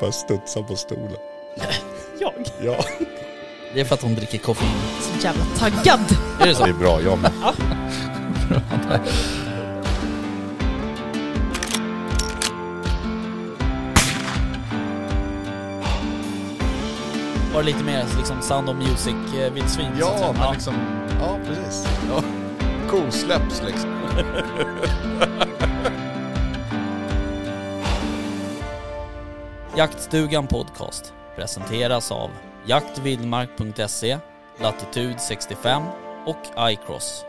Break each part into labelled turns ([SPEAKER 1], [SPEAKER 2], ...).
[SPEAKER 1] Bara studsa på stolen.
[SPEAKER 2] Jag?
[SPEAKER 1] Ja.
[SPEAKER 3] Det är för att hon dricker koffein.
[SPEAKER 2] Så jävla taggad.
[SPEAKER 3] Är det så?
[SPEAKER 1] Det är bra, jag med.
[SPEAKER 3] Var det lite mer liksom Sound of eh, Music-vildsvin?
[SPEAKER 1] Ja, men liksom... Ja, precis. Ja. Kosläpps liksom.
[SPEAKER 3] Jaktstugan Podcast presenteras av jaktvildmark.se, Latitud 65 och iCross.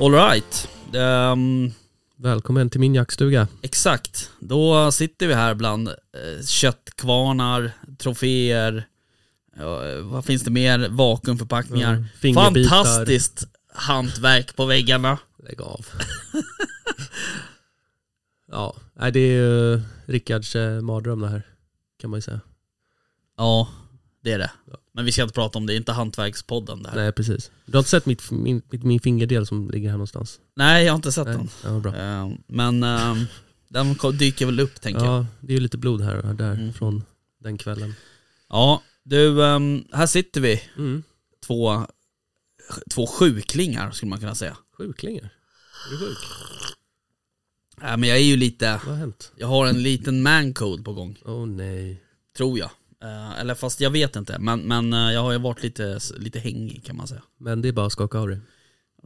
[SPEAKER 3] Alright. Um,
[SPEAKER 4] Välkommen till min jaktstuga.
[SPEAKER 3] exakt, då sitter vi här bland eh, köttkvarnar, troféer, eh, vad finns det mer? Vakuumförpackningar.
[SPEAKER 4] Mm, fingerbitar.
[SPEAKER 3] Fantastiskt hantverk på väggarna.
[SPEAKER 4] Lägg av. ja, nej, det är ju Rickards eh, mardröm det här. Kan man ju säga.
[SPEAKER 3] Ja, det är det. Men vi ska inte prata om det, det är inte Hantverkspodden det här. Nej,
[SPEAKER 4] Nej, precis. Du har inte sett mitt, min, mitt, min fingerdel som ligger här någonstans?
[SPEAKER 3] jag har inte sett
[SPEAKER 4] Nej,
[SPEAKER 3] den.
[SPEAKER 4] ja, bra.
[SPEAKER 3] Eh, Men ehm, den ko- dyker väl upp tänker jag.
[SPEAKER 4] Ja, det är ju lite blod här och där
[SPEAKER 3] Mm.
[SPEAKER 4] från den kvällen.
[SPEAKER 3] Ja, du, ehm, här sitter vi.
[SPEAKER 4] Mm.
[SPEAKER 3] Två, två sjuklingar skulle man kunna säga.
[SPEAKER 4] Sjuklingar. Är du sjuk?
[SPEAKER 3] Nej, Äh, men jag är ju lite,
[SPEAKER 4] Vad har hänt?
[SPEAKER 3] jag har en liten mancode på gång,
[SPEAKER 4] Åh oh, nej.
[SPEAKER 3] tror jag. Eh, Eller fast jag vet inte, men, men eh, jag har ju varit lite, lite hängig kan man säga.
[SPEAKER 4] Men det är bara att skaka av dig.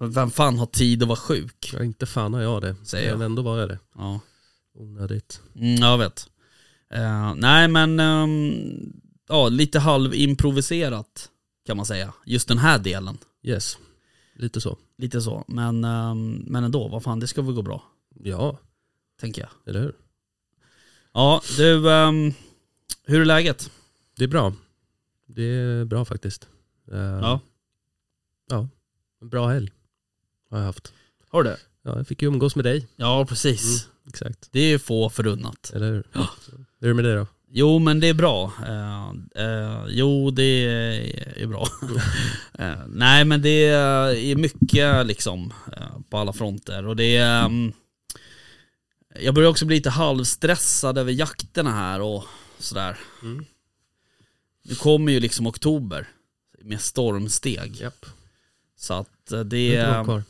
[SPEAKER 3] Vem fan har tid att vara sjuk?
[SPEAKER 4] Ja, inte fan har jag det.
[SPEAKER 3] Säger jag.
[SPEAKER 4] Men ändå var jag det.
[SPEAKER 3] Ja.
[SPEAKER 4] Onödigt.
[SPEAKER 3] Mm, jag vet. Eh, nej men, ehm, ja lite halvimproviserat kan man säga. Just den här delen.
[SPEAKER 4] Yes. Lite så.
[SPEAKER 3] Lite så. Men, ehm, men ändå, vad fan det ska väl gå bra.
[SPEAKER 4] Ja,
[SPEAKER 3] Tänker jag.
[SPEAKER 4] eller hur?
[SPEAKER 3] Ja du, ehm, hur är läget?
[SPEAKER 4] Det är bra. Det är bra faktiskt. Eh,
[SPEAKER 3] Ja.
[SPEAKER 4] Ja, en bra helg har jag haft.
[SPEAKER 3] Har du det?
[SPEAKER 4] Ja, jag fick ju umgås med dig.
[SPEAKER 3] Ja precis.
[SPEAKER 4] Exakt.
[SPEAKER 3] Det är ju få förunnat.
[SPEAKER 4] Eller hur?
[SPEAKER 3] Ja.
[SPEAKER 4] Så, Hur är det med dig då?
[SPEAKER 3] Jo men det är bra. Eh, eh, jo det är bra. Eh, nej men det är mycket liksom eh, på alla fronter och det är ehm, Jag börjar också bli lite halvstressad över jakterna här och sådär.
[SPEAKER 4] Mm.
[SPEAKER 3] Nu kommer ju liksom oktober med stormsteg.
[SPEAKER 4] Japp.
[SPEAKER 3] Så att eh,
[SPEAKER 4] Det
[SPEAKER 3] det
[SPEAKER 4] är inte
[SPEAKER 3] är...
[SPEAKER 4] långt kvar.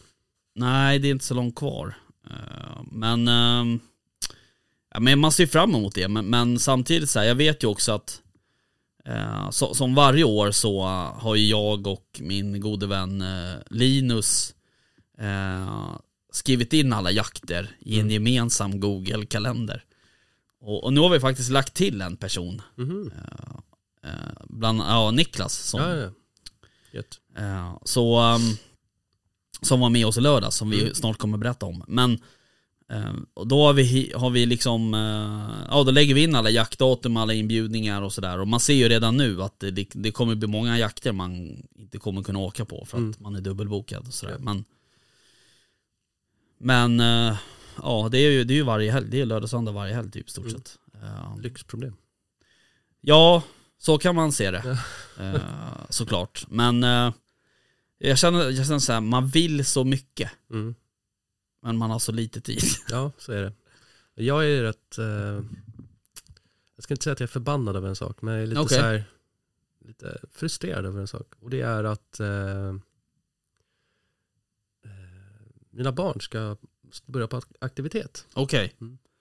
[SPEAKER 3] Nej, det är inte så långt kvar. Eh, Men, ehm, ja, men man ser ju fram emot det. Men, men samtidigt så här, jag vet ju också att eh, så, som varje år så eh, har ju jag och min gode vän eh, Linus eh, skrivit in alla jakter i
[SPEAKER 4] Mm.
[SPEAKER 3] en gemensam Google-kalender. Och, och nu har vi faktiskt lagt till en person,
[SPEAKER 4] Mhm.
[SPEAKER 3] eh, bland, ja, Niklas, som,
[SPEAKER 4] Ja, ja. Gött.
[SPEAKER 3] Eh, Så, ehm, som var med oss i lördags, som
[SPEAKER 4] Mm.
[SPEAKER 3] vi snart kommer berätta om. Men eh, och då har vi, hi- har vi liksom, eh, ja då lägger vi in alla jaktdatum, alla inbjudningar och sådär. Och man ser ju redan nu att det, det, det kommer bli många jakter man inte kommer kunna åka på för att
[SPEAKER 4] Mm.
[SPEAKER 3] man är dubbelbokad och sådär. Men, men eh, ja, det är ju, det är ju varje helg, det är lördag, söndag varje helg typ i stort
[SPEAKER 4] Mm.
[SPEAKER 3] sett. Eh,
[SPEAKER 4] Lyxproblem.
[SPEAKER 3] Ja, så kan man se det. Eh, såklart. Men eh, jag känner, jag känner så här, man vill så mycket,
[SPEAKER 4] Mm.
[SPEAKER 3] men man har så lite tid.
[SPEAKER 4] Ja, så är det. Jag är rätt, eh, jag ska inte säga att jag är förbannad över en sak, men jag är lite,
[SPEAKER 3] Okej.
[SPEAKER 4] så här, lite frustrerad över en sak. Och det är att eh, eh, mina barn ska börja på aktivitet,
[SPEAKER 3] Okej.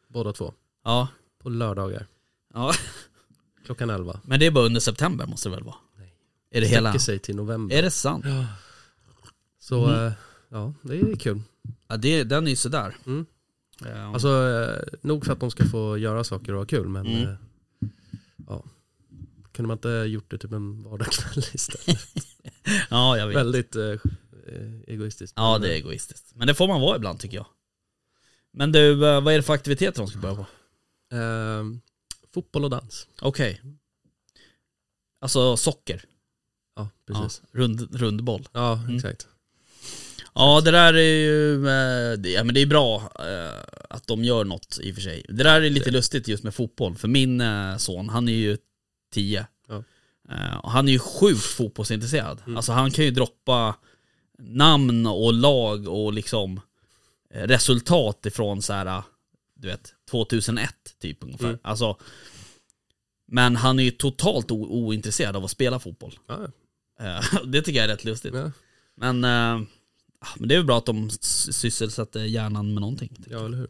[SPEAKER 4] båda två,
[SPEAKER 3] Ja.
[SPEAKER 4] på lördagar
[SPEAKER 3] ja.
[SPEAKER 4] klockan 11.
[SPEAKER 3] Men det är bara under september måste det väl vara?
[SPEAKER 4] Nej.
[SPEAKER 3] Är det hela?
[SPEAKER 4] Sträcker sig till november.
[SPEAKER 3] Är det sant?
[SPEAKER 4] Ja. Så
[SPEAKER 3] mm.
[SPEAKER 4] eh, ja, det är kul.
[SPEAKER 3] Ja, det, den är ju sådär.
[SPEAKER 4] Mm.
[SPEAKER 3] Eh,
[SPEAKER 4] Alltså eh, nog för att de ska få göra saker och ha kul, men
[SPEAKER 3] Mm.
[SPEAKER 4] eh, ja. Kunde man inte gjort det typ en vardagskväll istället?
[SPEAKER 3] ja, jag vet.
[SPEAKER 4] Väldigt eh, eh, egoistiskt.
[SPEAKER 3] Ja, det är egoistiskt. Men det får man vara ibland tycker jag. Men du, eh, vad är det för aktiviteter de ska börja på?
[SPEAKER 4] Ehm, fotboll och dans.
[SPEAKER 3] Okej. Alltså socker.
[SPEAKER 4] Ja, precis.
[SPEAKER 3] Ja, rund, rundboll.
[SPEAKER 4] Ja,
[SPEAKER 3] Mm.
[SPEAKER 4] exakt.
[SPEAKER 3] Ja det där är ju, eh, det, ja, men det är bra eh, att de gör något i och för sig. Det där är lite lustigt just med fotboll, för min eh, son han är ju 10.
[SPEAKER 4] Ja. Mm.
[SPEAKER 3] Eh, och han är ju sjukt fotbollsintresserad. Alltså han kan ju droppa namn och lag och liksom eh, resultat ifrån så här, du vet, 2001 typ ungefär.
[SPEAKER 4] Mm.
[SPEAKER 3] Alltså, men han är ju totalt o- ointresserad av att spela fotboll.
[SPEAKER 4] Ja,
[SPEAKER 3] Eh, Det tycker jag är rätt lustigt.
[SPEAKER 4] ja,
[SPEAKER 3] Men, eh, ah, men det är väl bra att de s- sysselsätter hjärnan med någonting. tycker
[SPEAKER 4] ja, eller hur.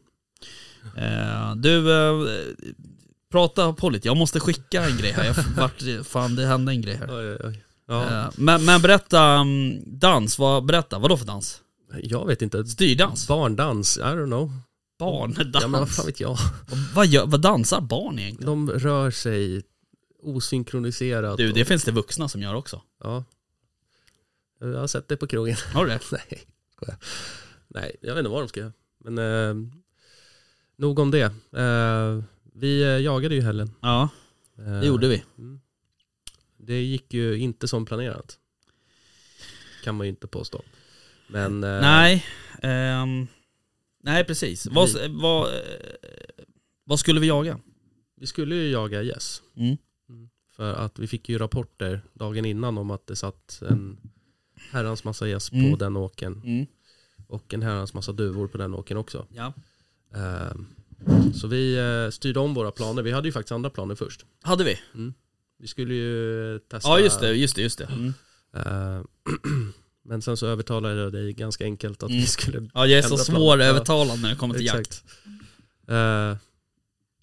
[SPEAKER 3] Eh, du, eh, prata på lite. Jag måste skicka en grej här. Jag vart, fan, det hände en grej här.
[SPEAKER 4] Oj, oj, oj. Ja,
[SPEAKER 3] Eh, men, men berätta, mm, dans, vad, berätta, vad då för dans?
[SPEAKER 4] jag vet inte.
[SPEAKER 3] Styrdans?
[SPEAKER 4] Barndans, I don't know.
[SPEAKER 3] Barndans?
[SPEAKER 4] Ja, men vad fan vet jag.
[SPEAKER 3] vad, gör, vad dansar barn egentligen?
[SPEAKER 4] De rör sig osynkroniserat.
[SPEAKER 3] Du,
[SPEAKER 4] och-
[SPEAKER 3] det finns det vuxna som gör också.
[SPEAKER 4] Ja. Jag har sett det på krogen.
[SPEAKER 3] Har du det?
[SPEAKER 4] Nej, skojar. Nej, jag vet inte vad de ska göra. Men eh, nog om det. Eh, vi eh, jagade ju i helgen.
[SPEAKER 3] Ja,
[SPEAKER 4] Eh,
[SPEAKER 3] det gjorde vi.
[SPEAKER 4] mm. Det gick ju inte som planerat. Kan man ju inte påstå. Men eh,
[SPEAKER 3] Nej, ehm, nej precis. Vad, vad, eh, vad skulle vi jaga?
[SPEAKER 4] vi skulle ju jaga gäss.
[SPEAKER 3] Mm.
[SPEAKER 4] För att vi fick ju rapporter dagen innan om att det satt en herrans massa gäss på
[SPEAKER 3] Mm.
[SPEAKER 4] den åken.
[SPEAKER 3] Mm.
[SPEAKER 4] Och en herrans massa duvor på den åken också.
[SPEAKER 3] Ja.
[SPEAKER 4] Eh, Så vi eh, styrde om våra planer. Vi hade ju faktiskt andra planer först.
[SPEAKER 3] Hade vi?
[SPEAKER 4] Vi skulle ju testa.
[SPEAKER 3] Ja just det, just det, just det. Mm.
[SPEAKER 4] eh, Men sen så övertalade jag dig ganska enkelt att
[SPEAKER 3] Mm.
[SPEAKER 4] vi skulle...
[SPEAKER 3] Ja, jag är så
[SPEAKER 4] Ändra plan.
[SPEAKER 3] svårövertalad när det kommer till jakt.
[SPEAKER 4] Eh,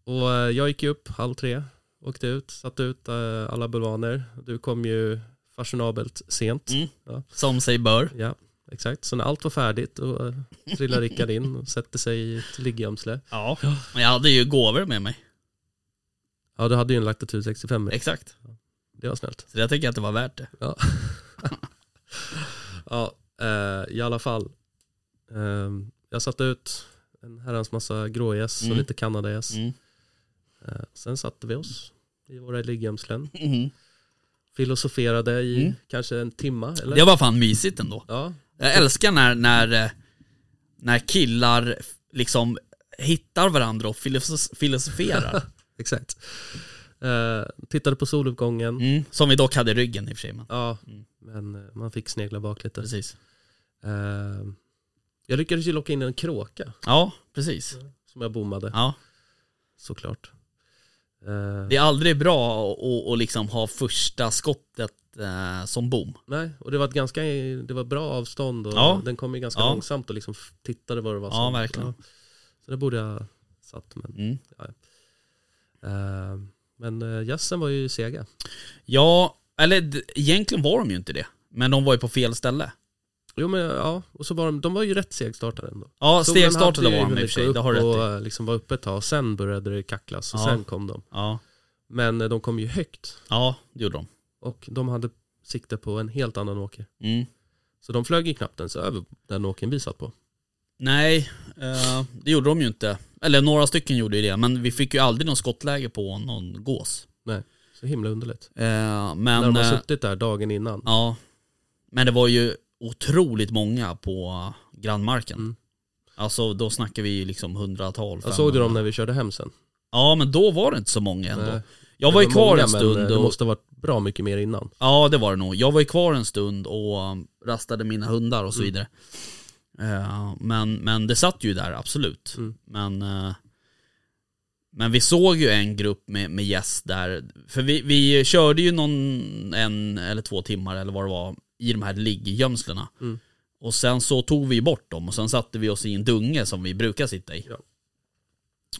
[SPEAKER 4] Och eh, jag gick ju upp halv tre, åkte ut, satte ut eh, alla bulvaner. Du kom ju fashionabelt sent.
[SPEAKER 3] Mm. Som sig bör.
[SPEAKER 4] Ja, exakt. Så när allt var färdigt och eh, trillade Rickard in och sätter sig i ett liggömsle.
[SPEAKER 3] Ja. Men jag hade ju gåvor med mig.
[SPEAKER 4] Ja, du hade ju en Lactatur 65
[SPEAKER 3] Exakt.
[SPEAKER 4] Det var snällt.
[SPEAKER 3] Så jag tycker att det var värt det.
[SPEAKER 4] Ja, eh, i alla fall. Eh, jag satte ut en herrans massa grågäss och
[SPEAKER 3] Mm.
[SPEAKER 4] lite kanadagäss.
[SPEAKER 3] Mm.
[SPEAKER 4] Eh, sen satte vi oss i våra liggömslen.
[SPEAKER 3] Mhm.
[SPEAKER 4] Filosoferade i
[SPEAKER 3] Mm.
[SPEAKER 4] kanske en timma eller?
[SPEAKER 3] Det var fan mysigt ändå.
[SPEAKER 4] Ja,
[SPEAKER 3] Jag älskar när, när, eh, när killar liksom hittar varandra och filos- filosoferar.
[SPEAKER 4] exakt. Eh, tittade på soluppgången.
[SPEAKER 3] Mm. Som vi dock hade i ryggen i och för sig. Men.
[SPEAKER 4] Ja,
[SPEAKER 3] Mm.
[SPEAKER 4] men eh, man fick snegla bak lite.
[SPEAKER 3] Precis.
[SPEAKER 4] Eh, jag lyckades ju locka in en kråka
[SPEAKER 3] Ja, precis.
[SPEAKER 4] som jag bommade
[SPEAKER 3] Ja.
[SPEAKER 4] såklart. Eh,
[SPEAKER 3] Det är aldrig bra att- att att liksom ha första skottet eh, som bom.
[SPEAKER 4] Nej, och det var ett ganska det var bra avstånd och
[SPEAKER 3] Ja.
[SPEAKER 4] den kom ju ganska
[SPEAKER 3] Ja.
[SPEAKER 4] långsamt och liksom f- tittade vad det var
[SPEAKER 3] Ja, verkligen.
[SPEAKER 4] Så det borde jag satt men.
[SPEAKER 3] Mm.
[SPEAKER 4] Eh, men eh, gässen var ju sega.
[SPEAKER 3] Ja, eller d- egentligen var de ju inte det. Men de var ju på fel ställe.
[SPEAKER 4] Jo men ja, och så var de, de var ju rätt segstartade ändå.
[SPEAKER 3] Ja,
[SPEAKER 4] Solen
[SPEAKER 3] stegstartade
[SPEAKER 4] hade ju
[SPEAKER 3] var de i och
[SPEAKER 4] hunnit
[SPEAKER 3] för sig.
[SPEAKER 4] gå
[SPEAKER 3] Det har du
[SPEAKER 4] upp
[SPEAKER 3] rätt i.
[SPEAKER 4] och eh, liksom var uppe ett tag, sen började det kacklas och
[SPEAKER 3] Ja.
[SPEAKER 4] sen kom de.
[SPEAKER 3] Ja.
[SPEAKER 4] Men eh, de kom ju högt
[SPEAKER 3] ja, det gjorde de.
[SPEAKER 4] och de hade sikte på en helt annan åker.
[SPEAKER 3] Mm.
[SPEAKER 4] Så de flög ju knappt ens över den åkern vi satt på.
[SPEAKER 3] Nej, eh, det gjorde de ju inte. Eller några stycken gjorde ju det, men vi fick ju aldrig någon skottläge på någon gås.
[SPEAKER 4] Så himla underligt.
[SPEAKER 3] Eh,
[SPEAKER 4] När
[SPEAKER 3] men,
[SPEAKER 4] de har
[SPEAKER 3] eh,
[SPEAKER 4] suttit där dagen innan.
[SPEAKER 3] ja, men det var ju otroligt många på grannmarken.
[SPEAKER 4] Mm.
[SPEAKER 3] Alltså då snackar vi ju liksom hundratal.
[SPEAKER 4] Jag såg du dem
[SPEAKER 3] femhundra.
[SPEAKER 4] när vi körde hem sen.
[SPEAKER 3] Ja men då var det inte så många ändå.
[SPEAKER 4] Nej.
[SPEAKER 3] Jag
[SPEAKER 4] Det
[SPEAKER 3] var ju kvar
[SPEAKER 4] många,
[SPEAKER 3] en
[SPEAKER 4] Men
[SPEAKER 3] stund
[SPEAKER 4] det
[SPEAKER 3] och,
[SPEAKER 4] måste ha varit bra mycket mer innan.
[SPEAKER 3] Ja det var det nog. Jag var ju kvar en stund och um, rastade mina hundar och så
[SPEAKER 4] Mm.
[SPEAKER 3] vidare. Eh, men, men det satt ju där absolut.
[SPEAKER 4] Mm.
[SPEAKER 3] Men, eh, men vi såg ju en grupp med, med gäss där. För vi, vi körde ju någon en eller två timmar eller vad det var i de här ligggömslena.
[SPEAKER 4] Mm.
[SPEAKER 3] Och sen så tog vi bort dem och sen satte vi oss i en dunge som vi brukar sitta i.
[SPEAKER 4] Ja.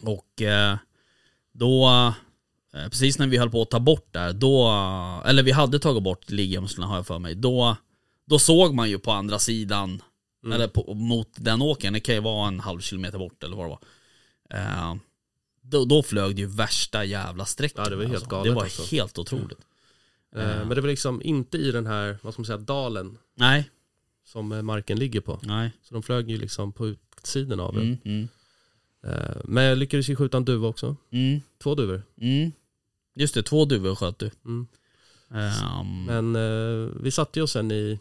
[SPEAKER 3] Och eh, då, eh, precis när vi höll på att ta bort där, då, eller vi hade tagit bort liggömslena har jag för mig, då, då såg man ju på andra sidan,
[SPEAKER 4] Mm.
[SPEAKER 3] eller på, mot den åkern, det kan ju vara en halv kilometer bort eller vad det var. Eh, då, då flög det ju värsta jävla strecket.
[SPEAKER 4] Ja, det var helt galet
[SPEAKER 3] Det var
[SPEAKER 4] alltså.
[SPEAKER 3] helt otroligt.
[SPEAKER 4] Eh, Men det var liksom inte i den här, vad ska man säga, dalen
[SPEAKER 3] Nej,
[SPEAKER 4] som eh, marken ligger på.
[SPEAKER 3] nej.
[SPEAKER 4] Så de flög ju liksom på utsidan av den.
[SPEAKER 3] Mm, mm,
[SPEAKER 4] Eh, Men jag lyckades ju skjuta en duva också.
[SPEAKER 3] mm,
[SPEAKER 4] Två duvor.
[SPEAKER 3] mm. Just det, två duvor sköt du.
[SPEAKER 4] Mm.
[SPEAKER 3] Ehm,
[SPEAKER 4] Men eh, vi satte ju oss sen i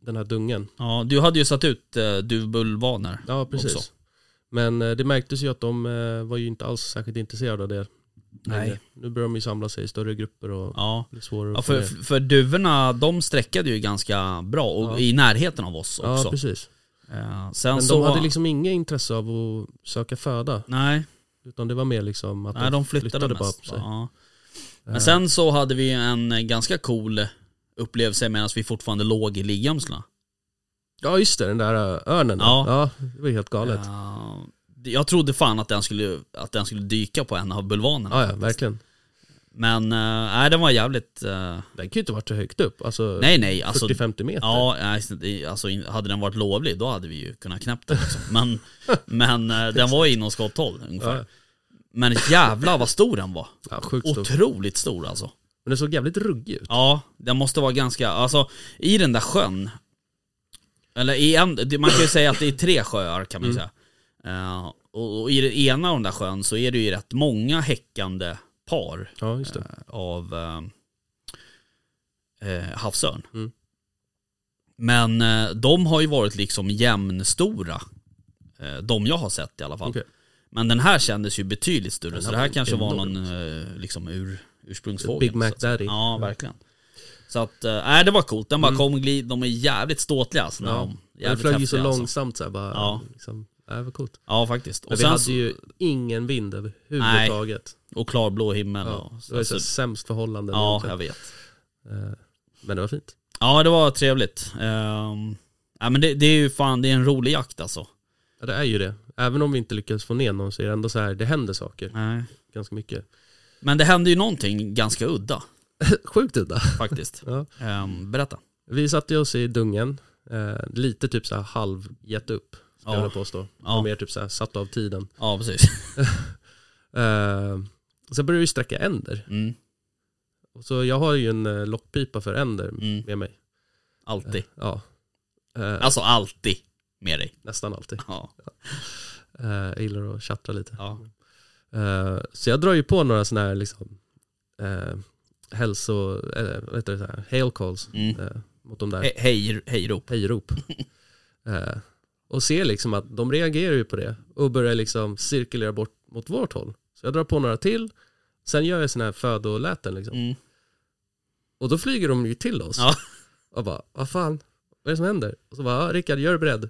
[SPEAKER 4] den här dungen.
[SPEAKER 3] ja, du hade ju satt ut eh, duvbulvaner.
[SPEAKER 4] Ja, precis.
[SPEAKER 3] Också.
[SPEAKER 4] Men eh, det märktes ju att de eh, var ju inte alls särskilt intresserade av det.
[SPEAKER 3] Nej.
[SPEAKER 4] längre. Nu börjar de ju samla sig i större grupper och
[SPEAKER 3] Ja.
[SPEAKER 4] blir svårare att
[SPEAKER 3] Ja,
[SPEAKER 4] få
[SPEAKER 3] för,
[SPEAKER 4] ner.
[SPEAKER 3] för duvorna, de sträckade ju ganska bra och
[SPEAKER 4] Ja.
[SPEAKER 3] i närheten av oss
[SPEAKER 4] Ja,
[SPEAKER 3] också.
[SPEAKER 4] precis.
[SPEAKER 3] Eh, sen
[SPEAKER 4] Men
[SPEAKER 3] så...
[SPEAKER 4] de hade liksom inget intresse av att söka föda.
[SPEAKER 3] Nej,
[SPEAKER 4] Utan det var mer liksom att
[SPEAKER 3] nej, de flyttade,
[SPEAKER 4] bara
[SPEAKER 3] mest.
[SPEAKER 4] upp sig. Ehm.
[SPEAKER 3] Ja. Men sen så hade vi en ganska cool upplevelse medan vi fortfarande låg i Liamsla.
[SPEAKER 4] Ja just det, den där ö, örnen.
[SPEAKER 3] Ja.
[SPEAKER 4] Ja. det var ju helt galet. Ja
[SPEAKER 3] Eh, jag trodde fan att den, skulle, att den skulle dyka på en av bulvanerna.
[SPEAKER 4] ja, verkligen.
[SPEAKER 3] Men eh, nej, den var jävligt... eh,
[SPEAKER 4] Den kan ju inte varit så högt upp. Alltså
[SPEAKER 3] nej nej, alltså
[SPEAKER 4] 40-50 meter.
[SPEAKER 3] Ja, nej, så det- alltså in- hade den varit lovlig då hade vi ju kunnat knäppa den liksom. Men, men eh, den var ju inom skotthåll ungefär.
[SPEAKER 4] Ja.
[SPEAKER 3] Men jävla vad stor den var.
[SPEAKER 4] ja sjukt stor.
[SPEAKER 3] Otroligt stor alltså.
[SPEAKER 4] Men den såg jävligt ruggig ut.
[SPEAKER 3] Ja, den måste vara ganska, alltså i den där sjön. Eller i en, det- man kan ju säga att det är tre sjöar kan man
[SPEAKER 4] Mm.
[SPEAKER 3] ju säga. Eh, och, och i den ena av den där sjön så är det ju rätt många häckande par
[SPEAKER 4] Ja just det.
[SPEAKER 3] av eh, eh, havsörn.
[SPEAKER 4] Mm.
[SPEAKER 3] Men eh, de har ju varit liksom jämnstora. Eh, de jag har sett i alla fall.
[SPEAKER 4] Okej.
[SPEAKER 3] Men den här kändes ju betydligt större.
[SPEAKER 4] Den
[SPEAKER 3] Så
[SPEAKER 4] här
[SPEAKER 3] det här
[SPEAKER 4] var
[SPEAKER 3] kanske var
[SPEAKER 4] enorm.
[SPEAKER 3] någon eh, liksom ur, ursprungsfågel.
[SPEAKER 4] Big Mac
[SPEAKER 3] så att säga.
[SPEAKER 4] Daddy.
[SPEAKER 3] Ja, verkligen. Så att, eh, nej det var coolt. Den bara
[SPEAKER 4] Mm.
[SPEAKER 3] kom och glid. De är jävligt ståtliga alltså. när de-
[SPEAKER 4] Ja. Den
[SPEAKER 3] Jävligt
[SPEAKER 4] flög ju så
[SPEAKER 3] häftiga, alltså.
[SPEAKER 4] långsamt så här, bara.
[SPEAKER 3] Ja.
[SPEAKER 4] Ja. Liksom, nej, det var coolt.
[SPEAKER 3] Ja faktiskt.
[SPEAKER 4] Men
[SPEAKER 3] Och,
[SPEAKER 4] vi
[SPEAKER 3] sen,
[SPEAKER 4] hade
[SPEAKER 3] så-
[SPEAKER 4] ju ingen vind överhuvudtaget.
[SPEAKER 3] och klarblå himmel.
[SPEAKER 4] Ja,
[SPEAKER 3] och,
[SPEAKER 4] det var ju så
[SPEAKER 3] alltså,
[SPEAKER 4] sämst förhållanden.
[SPEAKER 3] ja,
[SPEAKER 4] egentligen.
[SPEAKER 3] jag vet.
[SPEAKER 4] Eh, Men det var fint.
[SPEAKER 3] Ja, det var trevligt. Ehm, ja, men det, det är ju fan, det är en rolig jakt alltså.
[SPEAKER 4] Ja, det är ju det. Även om vi inte lyckas få ner någon så är det ändå så här, det händer saker ganska mycket.
[SPEAKER 3] Men det hände ju någonting ganska udda
[SPEAKER 4] Sjukt udda.
[SPEAKER 3] faktiskt.
[SPEAKER 4] Ja.
[SPEAKER 3] Ehm, berätta.
[SPEAKER 4] Vi satte oss i dungen, eh, lite typ så här halv gett upp, skulle
[SPEAKER 3] Ja.
[SPEAKER 4] jag vilja påstå.
[SPEAKER 3] Ja.
[SPEAKER 4] Och mer typ så här satt av tiden.
[SPEAKER 3] Ja, precis.
[SPEAKER 4] Eh, och sen började vi sträcka änder.
[SPEAKER 3] Mm,
[SPEAKER 4] Och så jag har ju en eh, lockpipa för änder
[SPEAKER 3] mm,
[SPEAKER 4] med mig.
[SPEAKER 3] alltid.
[SPEAKER 4] Ja. Eh,
[SPEAKER 3] Alltså alltid med dig.
[SPEAKER 4] Nästan alltid.
[SPEAKER 3] Ja.
[SPEAKER 4] Eh, jag gillar att tjattra lite.
[SPEAKER 3] Ja.
[SPEAKER 4] Eh, så jag drar ju på några sådana här liksom, eh, hälso, eh, vad heter det, så här, hail calls
[SPEAKER 3] Mm.
[SPEAKER 4] eh, mot de där.
[SPEAKER 3] He- Hej, hejrop.
[SPEAKER 4] hejrop. eh, och ser liksom att de reagerar ju på det och börjar liksom cirkulera bort mot vårt håll. Så jag drar på några till, sen gör jag sådana här födoläten liksom.
[SPEAKER 3] Mm.
[SPEAKER 4] Och då flyger de ju till oss.
[SPEAKER 3] Ja.
[SPEAKER 4] Och bara, vad fan, vad är det som händer? Och så bara, ja, Rickard, gör dig beredd.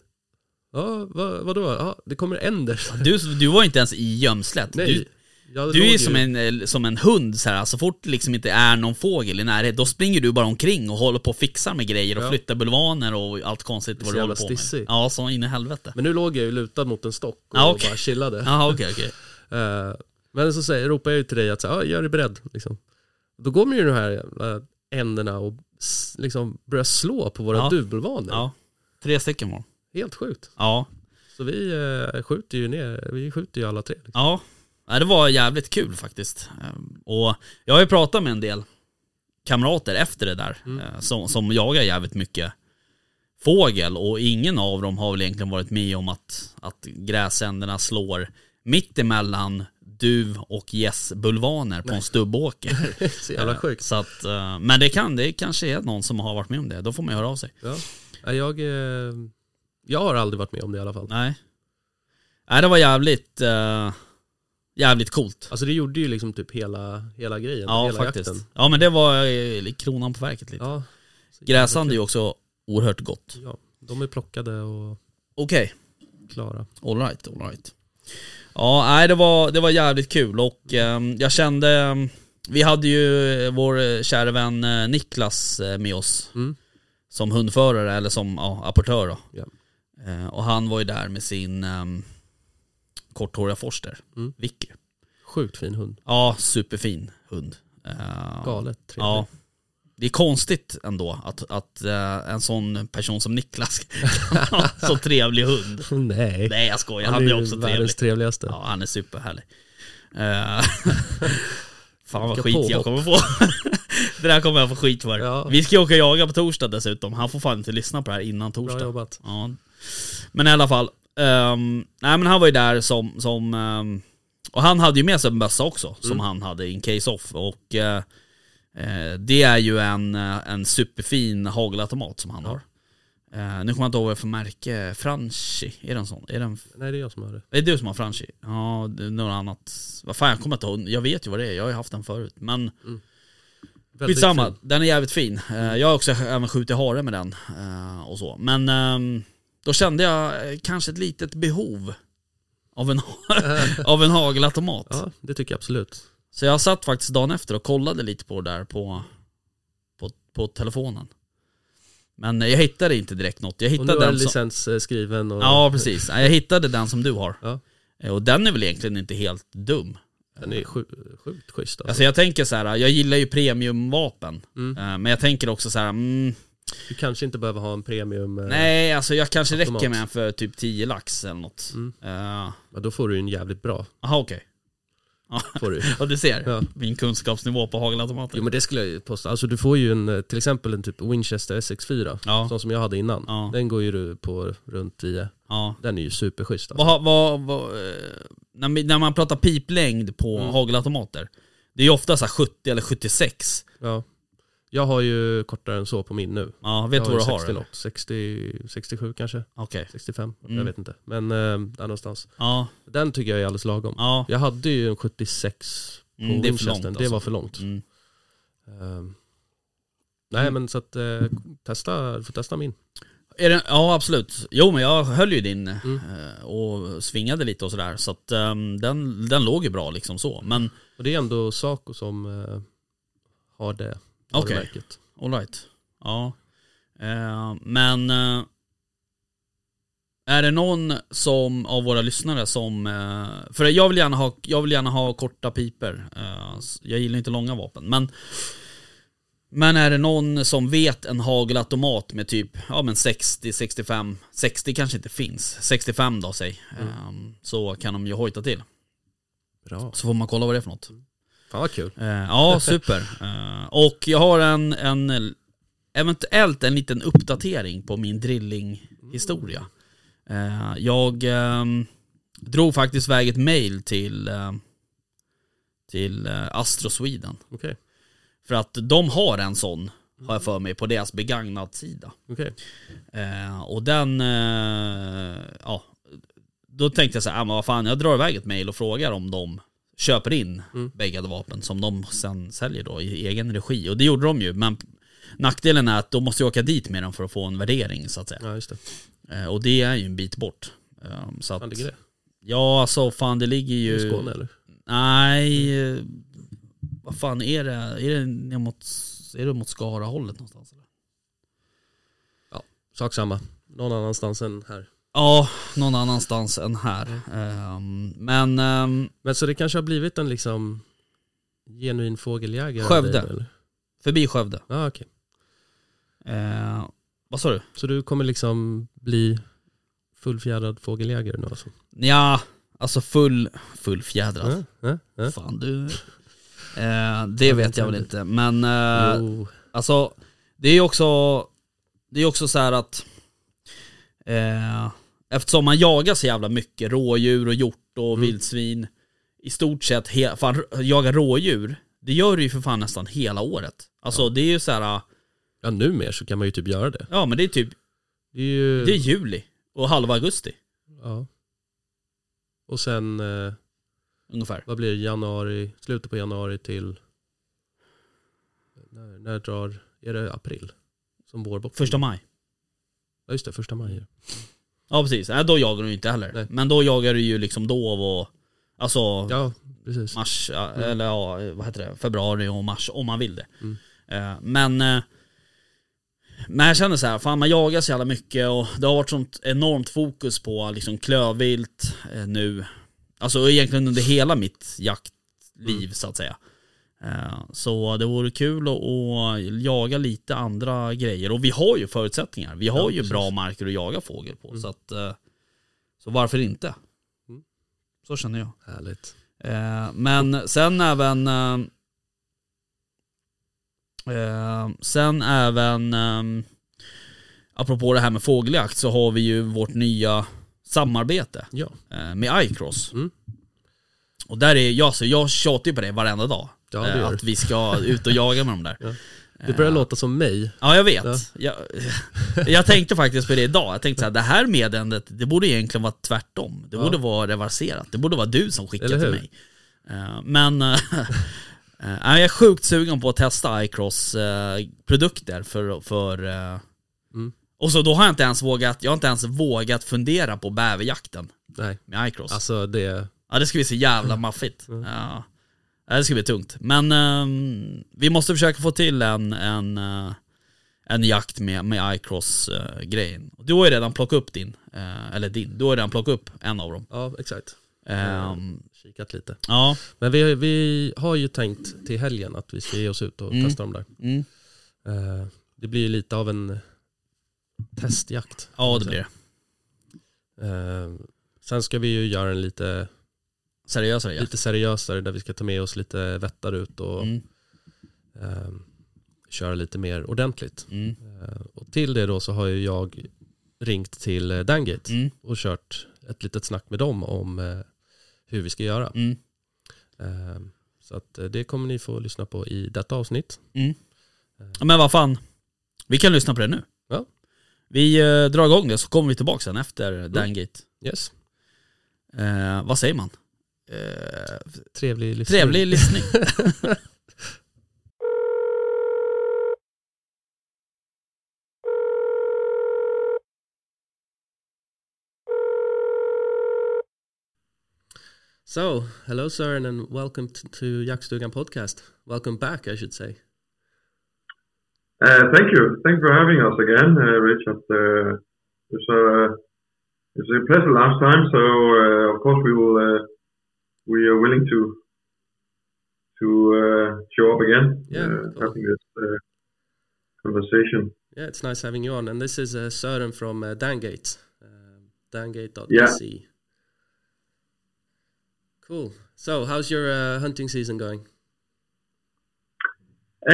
[SPEAKER 4] Ja, vad, vadå? Ja, det kommer änder.
[SPEAKER 3] Du, du var inte ens i gömslet. Du,
[SPEAKER 4] Nej. Jag
[SPEAKER 3] du är
[SPEAKER 4] låg
[SPEAKER 3] ju
[SPEAKER 4] ju-
[SPEAKER 3] som en, eh, som en hund så här. så fort det liksom inte är någon fågel i närheten, då springer du bara omkring och håller på och fixar med grejer och
[SPEAKER 4] Ja.
[SPEAKER 3] flyttar bulvaner och allt konstigt vad
[SPEAKER 4] Så
[SPEAKER 3] du
[SPEAKER 4] jävla
[SPEAKER 3] håller på med.
[SPEAKER 4] stissig.
[SPEAKER 3] Ja, så in i helvete.
[SPEAKER 4] Men nu låg jag ju lutad mot en stock och
[SPEAKER 3] Ja, okej.
[SPEAKER 4] bara chillade.
[SPEAKER 3] Jaha, okej, okej.
[SPEAKER 4] Eh, men så säger, ropar jag ju till dig att så, här, "Ja, gör dig beredd. Liksom. Då kommer ju de här jävla änderna och s- liksom börjar slå på våra
[SPEAKER 3] Ja.
[SPEAKER 4] dubbelvanor.
[SPEAKER 3] Ja. Tre stycken var de.
[SPEAKER 4] Helt sjukt.
[SPEAKER 3] Ja.
[SPEAKER 4] Så vi eh, skjuter ju ner, vi skjuter ju alla tre. Liksom.
[SPEAKER 3] Ja. Nej, Det var jävligt kul faktiskt. Ehm, Och jag har ju pratat med en del kamrater efter det där
[SPEAKER 4] Mm.
[SPEAKER 3] eh, som, som jagar jävligt mycket fågel och ingen av dem har väl egentligen varit med om att, att gräsänderna slår mitt emellan duv och gässbulvaner på en stubbåker.
[SPEAKER 4] Så jävla sjukt.
[SPEAKER 3] Så att, eh, men det kan, det kanske är någon som har varit med om det. Då får man ju höra av sig.
[SPEAKER 4] Ja. Ja, Jag, eh, jag har aldrig varit med om det i alla fall.
[SPEAKER 3] Nej. Nej, det var jävligt, eh, jävligt coolt.
[SPEAKER 4] Alltså det gjorde ju liksom typ hela, hela grejen,
[SPEAKER 3] Ja,
[SPEAKER 4] hela
[SPEAKER 3] faktiskt.
[SPEAKER 4] jakten.
[SPEAKER 3] Ja, men det var eh, kronan på verket lite.
[SPEAKER 4] Ja,
[SPEAKER 3] Gräsand är ju också oerhört gott.
[SPEAKER 4] ja, de är plockade och
[SPEAKER 3] Okej,
[SPEAKER 4] klara.
[SPEAKER 3] all alright, alright. Ja, nej, det var, det var jävligt kul och eh, jag kände, eh, vi hade ju vår eh, kära vän eh, Niklas eh, med oss
[SPEAKER 4] Mm.
[SPEAKER 3] som hundförare eller som ja, apportör då.
[SPEAKER 4] Ja.
[SPEAKER 3] Eh, och han var ju där med sin eh, korthåriga forster,
[SPEAKER 4] Mm.
[SPEAKER 3] Vicky.
[SPEAKER 4] Sjukt fin hund.
[SPEAKER 3] Ja, superfin hund. Eh,
[SPEAKER 4] Galet trevlig.
[SPEAKER 3] Ja. Det är konstigt ändå att, att eh, en sån person som Niklas kan ha en så trevlig hund.
[SPEAKER 4] Nej.
[SPEAKER 3] Nej jag skojar,
[SPEAKER 4] Han
[SPEAKER 3] han
[SPEAKER 4] är
[SPEAKER 3] är
[SPEAKER 4] ju
[SPEAKER 3] också trevlig.
[SPEAKER 4] världens typ. trevligaste.
[SPEAKER 3] Ja, han är superhärlig. Eh, Fan vad
[SPEAKER 4] Vilka
[SPEAKER 3] skit jag
[SPEAKER 4] påhopp.
[SPEAKER 3] kommer få. det där kommer jag få skit för.
[SPEAKER 4] Ja.
[SPEAKER 3] Vi ska ju åka och jaga på torsdag dessutom. Han får fan inte lyssna på det här innan
[SPEAKER 4] Bra
[SPEAKER 3] torsdag.
[SPEAKER 4] jobbat.
[SPEAKER 3] Ja. Men i alla fall. ehm, nej men han var ju där som, som ehm, och han hade ju med sig en bössa också som han hade in case off. Och eh, eh, det är ju en, eh, en superfin hagelautomat som han har. Eh, nu kommer jag inte ihåg vad det är för märke, Franchi, är den sån? Är den
[SPEAKER 4] Nej, det är jag som har det.
[SPEAKER 3] det är du som har franchi? Ja, det är något annat. Vad fan, jag kommer inte ihåg. Jag vet ju vad det är. Jag har ju haft den förut. Men
[SPEAKER 4] Väldigt
[SPEAKER 3] skitsamma,
[SPEAKER 4] fin.
[SPEAKER 3] den är jävligt fin. Eh, Jag har också även skjutit hare med den eh, och så. Men ehm, Då kände jag eh, kanske ett litet behov av en, av en hagelautomat.
[SPEAKER 4] Ja, det tycker jag absolut.
[SPEAKER 3] Så jag satt faktiskt dagen efter och kollade lite på det där på, på, på telefonen. Men eh, jag hittade inte direkt något. Jag
[SPEAKER 4] Och nu
[SPEAKER 3] hittade
[SPEAKER 4] är
[SPEAKER 3] den som,
[SPEAKER 4] licens eh, skriven och
[SPEAKER 3] Ja precis, Nej, jag hittade den som du har.
[SPEAKER 4] Ja.
[SPEAKER 3] Eh, Och den är väl egentligen inte helt dum.
[SPEAKER 4] den är sju, sjukt schysst. Alltså.
[SPEAKER 3] Alltså jag tänker så här, jag gillar ju premiumvapen.
[SPEAKER 4] Mm.
[SPEAKER 3] Eh, Men jag tänker också så här, mm,
[SPEAKER 4] Du kanske inte behöver ha en premium, eh,
[SPEAKER 3] nej alltså jag kanske
[SPEAKER 4] Automat.
[SPEAKER 3] räcker med en för typ 10 lax eller något.
[SPEAKER 4] Mm.
[SPEAKER 3] Jaha
[SPEAKER 4] men då får du ju en jävligt bra.
[SPEAKER 3] okej.
[SPEAKER 4] Får du.
[SPEAKER 3] Ja du ser,
[SPEAKER 4] Ja.
[SPEAKER 3] min kunskapsnivå på hagelautomater.
[SPEAKER 4] Jo men det skulle jag ju påstå. Alltså du får ju en, eh, till exempel en typ Winchester SX4,
[SPEAKER 3] Ja.
[SPEAKER 4] sån som jag hade innan.
[SPEAKER 3] Ja.
[SPEAKER 4] Den går ju du på runt 10.
[SPEAKER 3] Ja.
[SPEAKER 4] Den är ju superschysst. Alltså.
[SPEAKER 3] Vad, vad, vad, eh, när, vi- när man pratar piplängd på
[SPEAKER 4] Mm.
[SPEAKER 3] hagelautomater, det är ju ofta så här 70 eller 76.
[SPEAKER 4] Ja. Jag har ju kortare än så på min nu.
[SPEAKER 3] Ja, vet
[SPEAKER 4] jag
[SPEAKER 3] du vad du
[SPEAKER 4] ju
[SPEAKER 3] har?
[SPEAKER 4] 60
[SPEAKER 3] eller?
[SPEAKER 4] lopp, 60, 67 kanske,
[SPEAKER 3] Okej.
[SPEAKER 4] 65, jag
[SPEAKER 3] Mm.
[SPEAKER 4] vet inte. Men eh, där någonstans.
[SPEAKER 3] Ja,
[SPEAKER 4] Den tycker jag är alldeles lagom.
[SPEAKER 3] ja.
[SPEAKER 4] Jag hade ju en 76 på
[SPEAKER 3] Mm, det är för
[SPEAKER 4] Winchestern,
[SPEAKER 3] långt
[SPEAKER 4] det
[SPEAKER 3] alltså.
[SPEAKER 4] var för långt.
[SPEAKER 3] Mm.
[SPEAKER 4] Ehm, nej men så att, eh, testa, du får testa min.
[SPEAKER 3] Är det, ja, absolut. Jo, men jag höll ju din
[SPEAKER 4] Mm.
[SPEAKER 3] eh, och svingade lite och sådär. Så att ehm, den, den låg ju bra liksom så. Men
[SPEAKER 4] Och det är ändå Saco som eh, har det
[SPEAKER 3] Okej.
[SPEAKER 4] varumärket.
[SPEAKER 3] alright. Ja. Eh, men eh, är det någon som, av våra lyssnare som... Eh, för jag vill gärna ha, jag vill gärna ha korta piper. Eh, s- jag gillar inte långa vapen. Men, men är det någon som vet en hagelautomat med typ ja, men 60, 65, 60 kanske inte finns. 65 då säg. Eh, så kan de ju hojta till.
[SPEAKER 4] Bra.
[SPEAKER 3] Så får man kolla vad det är för något.
[SPEAKER 4] Fan vad kul.
[SPEAKER 3] Eh, ja, super. Eh, och jag har en, en, eventuellt en liten uppdatering på min drillinghistoria. Eh, jag ehm, drog faktiskt iväg ett mail till, eh, till eh, Astro Sweden.
[SPEAKER 4] Okej.
[SPEAKER 3] För att de har en sån, har jag för mig, på deras begagnad-sida.
[SPEAKER 4] Okej.
[SPEAKER 3] Eh, och den, eh, ja, då tänkte jag så här, ah, men vad fan, jag drar iväg ett mail och frågar om de köper in
[SPEAKER 4] Mm.
[SPEAKER 3] begagnade vapen som de sen säljer då i egen regi. Och det gjorde de ju, men nackdelen är att de måste ju åka dit med dem för att få en värdering så att säga.
[SPEAKER 4] Ja just det.
[SPEAKER 3] Eh, och det är ju en bit bort. Eh, så att,
[SPEAKER 4] Fan ligger det?
[SPEAKER 3] Ja, alltså fan det ligger ju...
[SPEAKER 4] I Skåne eller?
[SPEAKER 3] Nej, eh, vad fan är det? Är det ner mot, är det mot Skara-hållet någonstans? Eller?
[SPEAKER 4] Sak samma. Någon annanstans än här.
[SPEAKER 3] Ja, någon annanstans än här. Ehm, men ehm,
[SPEAKER 4] Men så det kanske har blivit en liksom genuin fågeljägare? av
[SPEAKER 3] Skövde.
[SPEAKER 4] dig nu, eller?
[SPEAKER 3] förbi Skövde.
[SPEAKER 4] Ja ah, okej.
[SPEAKER 3] Ehm, vad sa du?
[SPEAKER 4] Så du kommer liksom bli fullfjädrad fågeljägare nu alltså?
[SPEAKER 3] Ja, alltså full, fullfjädrad.
[SPEAKER 4] Ja, ja, ja.
[SPEAKER 3] Fan du. Ehm, det vet jag väl inte. Men eh,
[SPEAKER 4] Jo.
[SPEAKER 3] alltså, det är ju också, det är också så här att eh, eftersom man jagar så jävla mycket rådjur och hjort
[SPEAKER 4] Mm.
[SPEAKER 3] och vildsvin. I stort sett, he- fan, jaga rådjur, det gör du ju för fan nästan hela året. Alltså det är ju så här.
[SPEAKER 4] Ja numera så kan man ju typ göra det.
[SPEAKER 3] Ja men det är typ,
[SPEAKER 4] Det är ju...
[SPEAKER 3] det är juli och halva augusti
[SPEAKER 4] Ja. Och sen, eh,
[SPEAKER 3] ungefär.
[SPEAKER 4] vad blir det, januari, slutet på januari till... När, när drar, är det april? Som vårbock?
[SPEAKER 3] Första maj.
[SPEAKER 4] Ja just det, första maj.
[SPEAKER 3] Ja precis, Nej, då jagar du inte heller.
[SPEAKER 4] Nej.
[SPEAKER 3] Men då jagar du ju liksom dov och, alltså
[SPEAKER 4] Ja, precis.
[SPEAKER 3] mars, ja,
[SPEAKER 4] Mm.
[SPEAKER 3] eller ja, vad heter det, februari och mars om man vill det.
[SPEAKER 4] Mm.
[SPEAKER 3] Eh, Men, eh, men jag känner så här, fan man jagar så jävla mycket och det har varit sånt enormt fokus på liksom klövvilt eh, nu. Alltså egentligen under hela mitt jaktliv
[SPEAKER 4] Mm.
[SPEAKER 3] så att säga. Eh, Så det vore kul att, att jaga lite andra grejer och vi har ju förutsättningar. Vi har
[SPEAKER 4] Ja,
[SPEAKER 3] ju
[SPEAKER 4] precis.
[SPEAKER 3] bra marker att jaga fågel på så att eh, så varför inte?
[SPEAKER 4] Mm.
[SPEAKER 3] Så känner jag.
[SPEAKER 4] Härligt.
[SPEAKER 3] Eh, men sen även... Eh, eh, sen även... Eh, apropå det här med fågeljakt så har vi ju vårt nya samarbete
[SPEAKER 4] Ja,
[SPEAKER 3] eh, med iCross.
[SPEAKER 4] Mm.
[SPEAKER 3] Och där är jag, alltså, jag tjatar ju på det varenda dag.
[SPEAKER 4] Ja, det gör
[SPEAKER 3] eh,
[SPEAKER 4] du.
[SPEAKER 3] att vi ska ut och jaga med dem där.
[SPEAKER 4] Ja. det börjar låta som mig.
[SPEAKER 3] Ja jag vet.
[SPEAKER 4] Ja.
[SPEAKER 3] Jag, jag tänkte faktiskt på det idag. Jag tänkte så här, det här meddelandet, det borde egentligen vara tvärtom. Det
[SPEAKER 4] Ja.
[SPEAKER 3] borde vara reverserat. Det borde vara du som skickar
[SPEAKER 4] Eller
[SPEAKER 3] till
[SPEAKER 4] hur?
[SPEAKER 3] mig. Eh, Men eh, eh, jag är sjukt sugen på att testa iCross eh, produkter för, för eh,
[SPEAKER 4] Mm.
[SPEAKER 3] Och så då har jag inte ens vågat, jag har inte ens vågat fundera på bäverjakten
[SPEAKER 4] Nej,
[SPEAKER 3] med iCross.
[SPEAKER 4] alltså det...
[SPEAKER 3] Ja det ska bli så
[SPEAKER 4] Mm.
[SPEAKER 3] jävla maffigt. Ja. Ja, Det ska bli tungt. Men ehm, vi måste försöka få till en, en, eh, en jakt med, med iCross-grejen. Du har ju redan plockat upp din, eh, eller din, du har ju redan plockat upp en av dem.
[SPEAKER 4] Ja, exakt.
[SPEAKER 3] Ehm,
[SPEAKER 4] Kikat lite.
[SPEAKER 3] ja,
[SPEAKER 4] Men vi, vi har ju tänkt till helgen att vi ska ge oss ut och
[SPEAKER 3] Mm.
[SPEAKER 4] testa dem där.
[SPEAKER 3] mm.
[SPEAKER 4] Eh, Det blir ju lite av en testjakt.
[SPEAKER 3] ja det blir det.
[SPEAKER 4] Eh, Sen ska vi ju göra en lite,
[SPEAKER 3] Seriösare jakt.
[SPEAKER 4] lite seriösare där vi ska ta med oss lite vättar ut och
[SPEAKER 3] Mm,
[SPEAKER 4] eh, köra lite mer ordentligt.
[SPEAKER 3] mm,
[SPEAKER 4] Eh, Och till det då så har ju jag ringt till eh, Dangate
[SPEAKER 3] mm,
[SPEAKER 4] och kört ett litet snack med dem om eh, hur vi ska göra.
[SPEAKER 3] mm,
[SPEAKER 4] Eh, Så att eh, det kommer ni få lyssna på i detta avsnitt.
[SPEAKER 3] mm. Ja, Men vad fan, vi kan lyssna på det nu.
[SPEAKER 4] Ja.
[SPEAKER 3] Vi eh, drar igång det så kommer vi tillbaka sen efter
[SPEAKER 4] Mm.
[SPEAKER 3] Dangate.
[SPEAKER 4] Yes,
[SPEAKER 3] Eh, vad säger man? Eh,
[SPEAKER 4] trevlig lyssning.
[SPEAKER 3] Trevlig lyssning.
[SPEAKER 4] So, hello Søren and welcome t- to Jakstugan podcast. Welcome back, I should say.
[SPEAKER 5] Uh, Thank you. Thanks for having us again, uh, Richard. Uh, It's a it's a pleasure last time, so uh, of course we will, uh, we are willing to to uh, show up again.
[SPEAKER 4] Yeah,
[SPEAKER 5] uh,
[SPEAKER 4] cool.
[SPEAKER 5] Having this uh, conversation.
[SPEAKER 4] Yeah, it's nice having you on. And this is uh, Søren from uh, Dangate, um, dangate.se. Cool. So, how's your uh, hunting season going?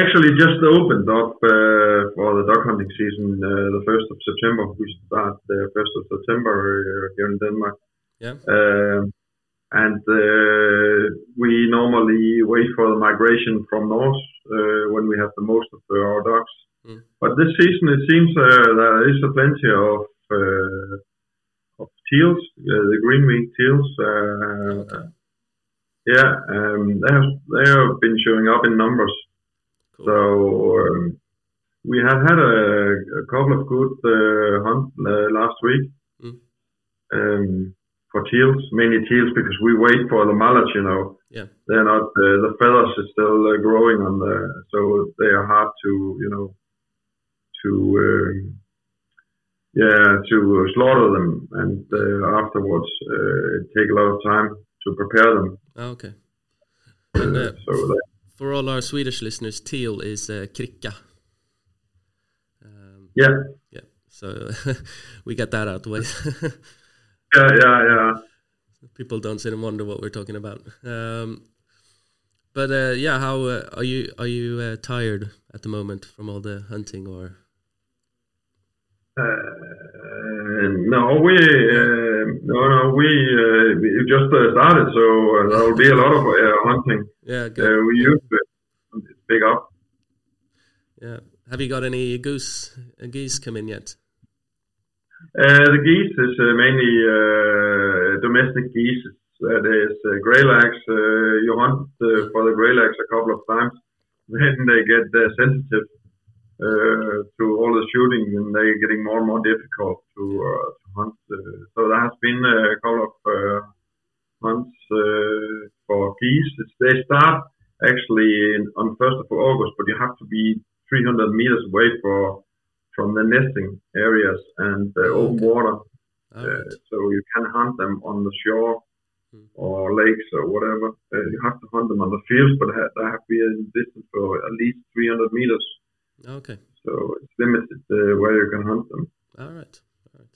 [SPEAKER 5] Actually, just opened up uh, for the duck hunting season uh, the 1st of September. We start the 1st of September uh, here in Denmark.
[SPEAKER 4] Yeah.
[SPEAKER 5] Um, and uh, we normally wait for the migration from north uh, when we have the most of our ducks.
[SPEAKER 4] Mm.
[SPEAKER 5] But this season, it seems uh, there is a plenty of uh, of teals, uh, the green wing teals. Uh, Yeah, um, they have they have been showing up in numbers.
[SPEAKER 4] Cool.
[SPEAKER 5] So um, we have had a, a couple of good uh, hunt uh, last week.
[SPEAKER 4] Mm.
[SPEAKER 5] Um, for teals, mainly teals, because we wait for the mallets, you know.
[SPEAKER 4] Yeah.
[SPEAKER 5] They're not, uh, the feathers are still uh, growing on the, so they are hard to, you know, to, um, yeah, to slaughter them. And uh, afterwards, uh, it take a lot of time to prepare them.
[SPEAKER 4] Oh, okay. And, uh,
[SPEAKER 5] So that,
[SPEAKER 4] for all our Swedish listeners, teal is uh, kricka. Um,
[SPEAKER 5] yeah,
[SPEAKER 4] yeah, so we got that out of the way.
[SPEAKER 5] yeah, yeah, yeah.
[SPEAKER 4] people don't sit and wonder what we're talking about. Um, but uh, yeah, how uh, are you? Are you uh, tired at the moment from all the hunting, or
[SPEAKER 5] Uh, no, we uh, no, no, we uh, we just uh, started, so uh, there will be a lot of uh, hunting.
[SPEAKER 4] yeah,
[SPEAKER 5] Uh,
[SPEAKER 4] good.
[SPEAKER 5] we used to pick up.
[SPEAKER 4] yeah. Have you got any goose uh, geese come in yet?
[SPEAKER 5] Uh, the geese is uh, mainly uh, domestic geese. Uh, there's uh, greylags. Uh, you hunt uh, for the greylags a couple of times, then they get uh, sensitive uh, to all the shooting, and they're getting more and more difficult to, uh, to hunt. Uh, so there has been uh, a couple of uh, hunts uh, for geese. It's, they start actually in, on first of August, but you have to be 300 meters away for from the nesting areas and uh, open
[SPEAKER 4] Okay.
[SPEAKER 5] water.
[SPEAKER 4] All
[SPEAKER 5] Uh,
[SPEAKER 4] right.
[SPEAKER 5] so you can hunt them on the shore
[SPEAKER 4] Hmm.
[SPEAKER 5] or lakes or whatever. Uh, you have to hunt them on the fields, but ha- they have to be a distance for at least 300 meters.
[SPEAKER 4] Okay.
[SPEAKER 5] So it's limited uh, where you can hunt them.
[SPEAKER 4] All right. All right.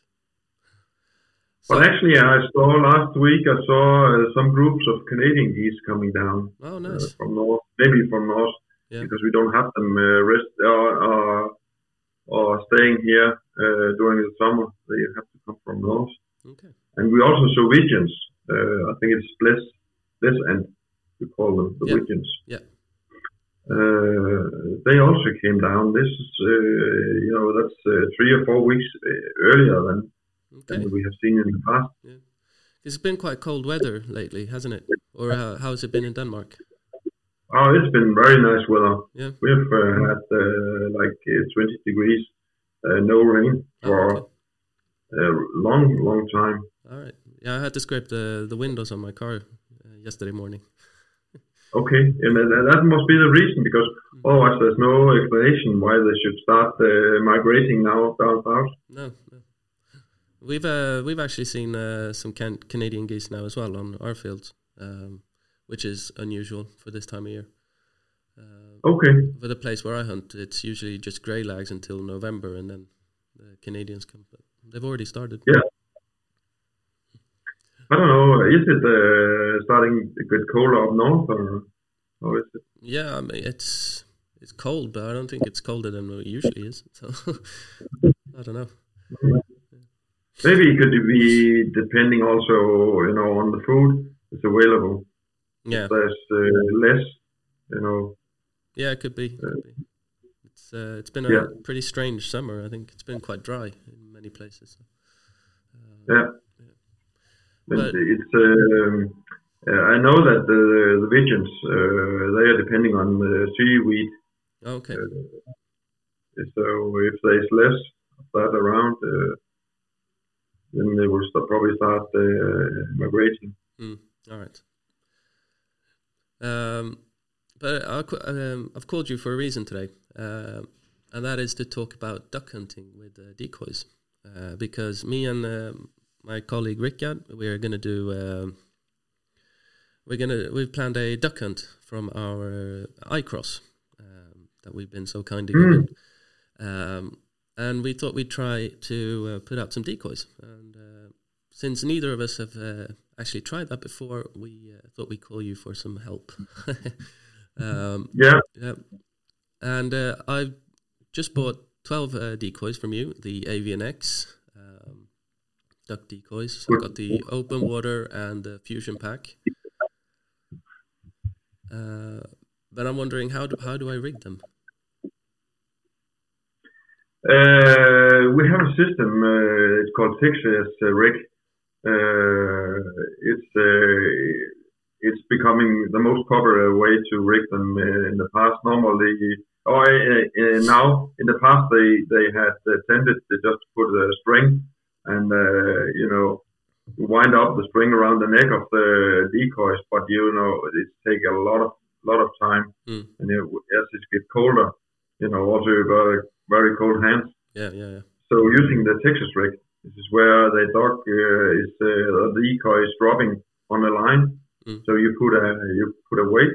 [SPEAKER 5] But actually, I saw last week. I saw uh, some groups of Canadian geese coming down
[SPEAKER 4] oh,
[SPEAKER 5] uh,
[SPEAKER 4] nice.
[SPEAKER 5] from north, maybe from north,
[SPEAKER 4] Yeah.
[SPEAKER 5] because we don't have them uh, rest or, or or staying here uh, during the summer. They have to come from north.
[SPEAKER 4] Okay.
[SPEAKER 5] And we also saw Wigeons. Uh, I think it's Bliss, Bliss and we call them the
[SPEAKER 4] Yeah.
[SPEAKER 5] Wigeons.
[SPEAKER 4] Yeah.
[SPEAKER 5] Uh, they also came down. This is, uh, you know, that's uh, three or four weeks uh, earlier than,
[SPEAKER 4] Okay.
[SPEAKER 5] than we have seen in the past.
[SPEAKER 4] It's been quite cold weather lately, hasn't it? Or uh, how's it been in Denmark?
[SPEAKER 5] Oh, it's been very nice weather.
[SPEAKER 4] Yeah.
[SPEAKER 5] We've uh, had uh, like uh, 20 degrees uh, no rain for
[SPEAKER 4] Oh, okay.
[SPEAKER 5] a long, long time.
[SPEAKER 4] All right. Yeah, I had to scrape the, the windows on my car uh, yesterday morning.
[SPEAKER 5] Okay, and then- then that must be the reason because
[SPEAKER 4] Hmm.
[SPEAKER 5] otherwise there's no explanation why they should start uh, migrating now down south.
[SPEAKER 4] No, no. We've uh, we've actually seen uh, some can- Canadian geese now as well on our fields, um, which is unusual for this time of year. Uh,
[SPEAKER 5] Okay,
[SPEAKER 4] For the place where I hunt, it's usually just grey lags until November, and then the Canadians come. But they've already started.
[SPEAKER 5] Yeah. I don't know. Is it uh, starting to get colder up north, or or is it?
[SPEAKER 4] Yeah, I mean it's it's cold, but I don't think it's colder than it usually is. So I don't know.
[SPEAKER 5] Maybe it could be depending also, you know, on the food that's available.
[SPEAKER 4] Yeah,
[SPEAKER 5] There's uh, less, you know.
[SPEAKER 4] yeah, it could be. It could be. It's uh, it's been a
[SPEAKER 5] Yeah.
[SPEAKER 4] pretty strange summer. I think it's been quite dry in many places.
[SPEAKER 5] Yeah. And
[SPEAKER 4] But-
[SPEAKER 5] it's. Um, uh, I know that the the pigeons uh, they are depending on the seaweed.
[SPEAKER 4] Okay.
[SPEAKER 5] So if there's less of that around, uh, then they will start, probably start uh, migrating.
[SPEAKER 4] Mm, all right. Um, but I'll, qu- um, I've called you for a reason today, um, and that is to talk about duck hunting with uh, decoys. Uh, because me and um my colleague Rickard, we're going to do. Um, we're gonna. We've planned a duck hunt from our uh, iCross um, that we've been so kindly given, um, and we thought we'd try to uh, put out some decoys. And uh, since neither of us have uh, actually tried that before, we uh, thought we'd call you for some help. um,
[SPEAKER 5] Yeah,
[SPEAKER 4] yeah. And uh, I've just bought 12 uh, decoys from you, the Avian X um, duck decoys. So I've got the open water and the fusion pack. Uh, but I'm wondering how do, how do I rig them?
[SPEAKER 5] uh, we have a system. Uh, it's called Texas uh, Rig. Uh, it's uh, it's becoming the most popular way to rig them. Uh, in the past, normally, or uh, uh, now, in the past, they they had uh, tended to just put a string and uh, you know wind up the string around the neck of the decoys. But you know, it take a lot of lot of time,
[SPEAKER 4] Mm.
[SPEAKER 5] and it, as it gets colder, you know, also uh, you got a very cold hands.
[SPEAKER 4] Yeah, yeah, yeah.
[SPEAKER 5] So using the Texas rig, this is where the dog uh, is uh, the decoy is dropping on the line.
[SPEAKER 4] Mm.
[SPEAKER 5] So you put a you put a weight,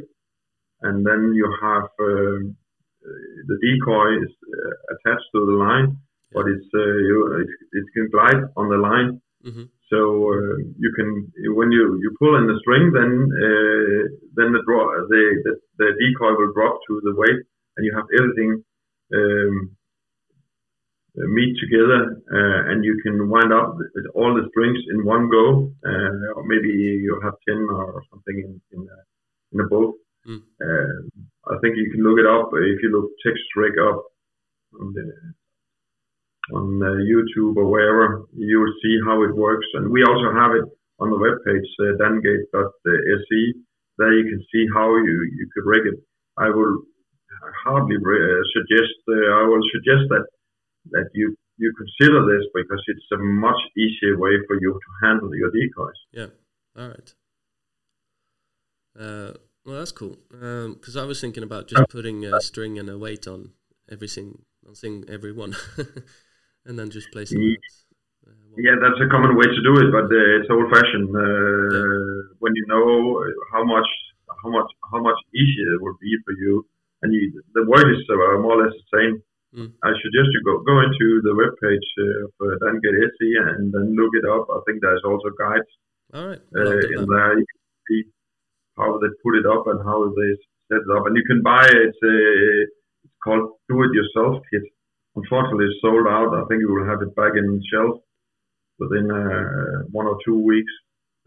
[SPEAKER 5] and then you have um, uh, the decoy is uh, attached to the line, but it's uh, you it, it can glide on the line.
[SPEAKER 4] Mhm.
[SPEAKER 5] So uh, you can when you, you pull in the string, then uh, then the draw the, the the decoy will drop to the weight, and you have everything um, uh, meet together, uh, and you can wind up with all the strings in one go. Uh, or maybe you have ten or something in in a, in a boat.
[SPEAKER 4] Mm.
[SPEAKER 5] Uh, I think you can look it up if you look text rig up on the on uh, YouTube or wherever, you will see how it works. And we also have it on the webpage, uh, dangate.se. E. There you can see how you, you could rig it. I will hardly re- uh, suggest, uh, I will suggest that, that you, you consider this because it's a much easier way for you to handle your decoys.
[SPEAKER 4] Yeah. All right. Uh, well, that's cool. Because I was thinking about just putting a string and a weight on every sing, on sing every one, and then just placing.
[SPEAKER 5] Ye-
[SPEAKER 4] that, uh, one-
[SPEAKER 5] Mm-hmm. Yeah, that's a common way to do it, but uh, it's old fashioned. Uh, when you know uh, how much, how much, how much easier it would be for you, and you, the word is uh, more or less the same.
[SPEAKER 4] Mm.
[SPEAKER 5] I suggest you go go into the webpage uh, of uh, Danget SE and then look it up. I think there's also guides
[SPEAKER 4] All right.
[SPEAKER 5] uh,
[SPEAKER 4] well, I'll do
[SPEAKER 5] in
[SPEAKER 4] that.
[SPEAKER 5] there. You can see how they put it up and how they set it up, and you can buy it. Uh, it's called Do It Yourself Kit. Unfortunately, it's sold out. I think you will have it back in shelf within uh, one or two weeks.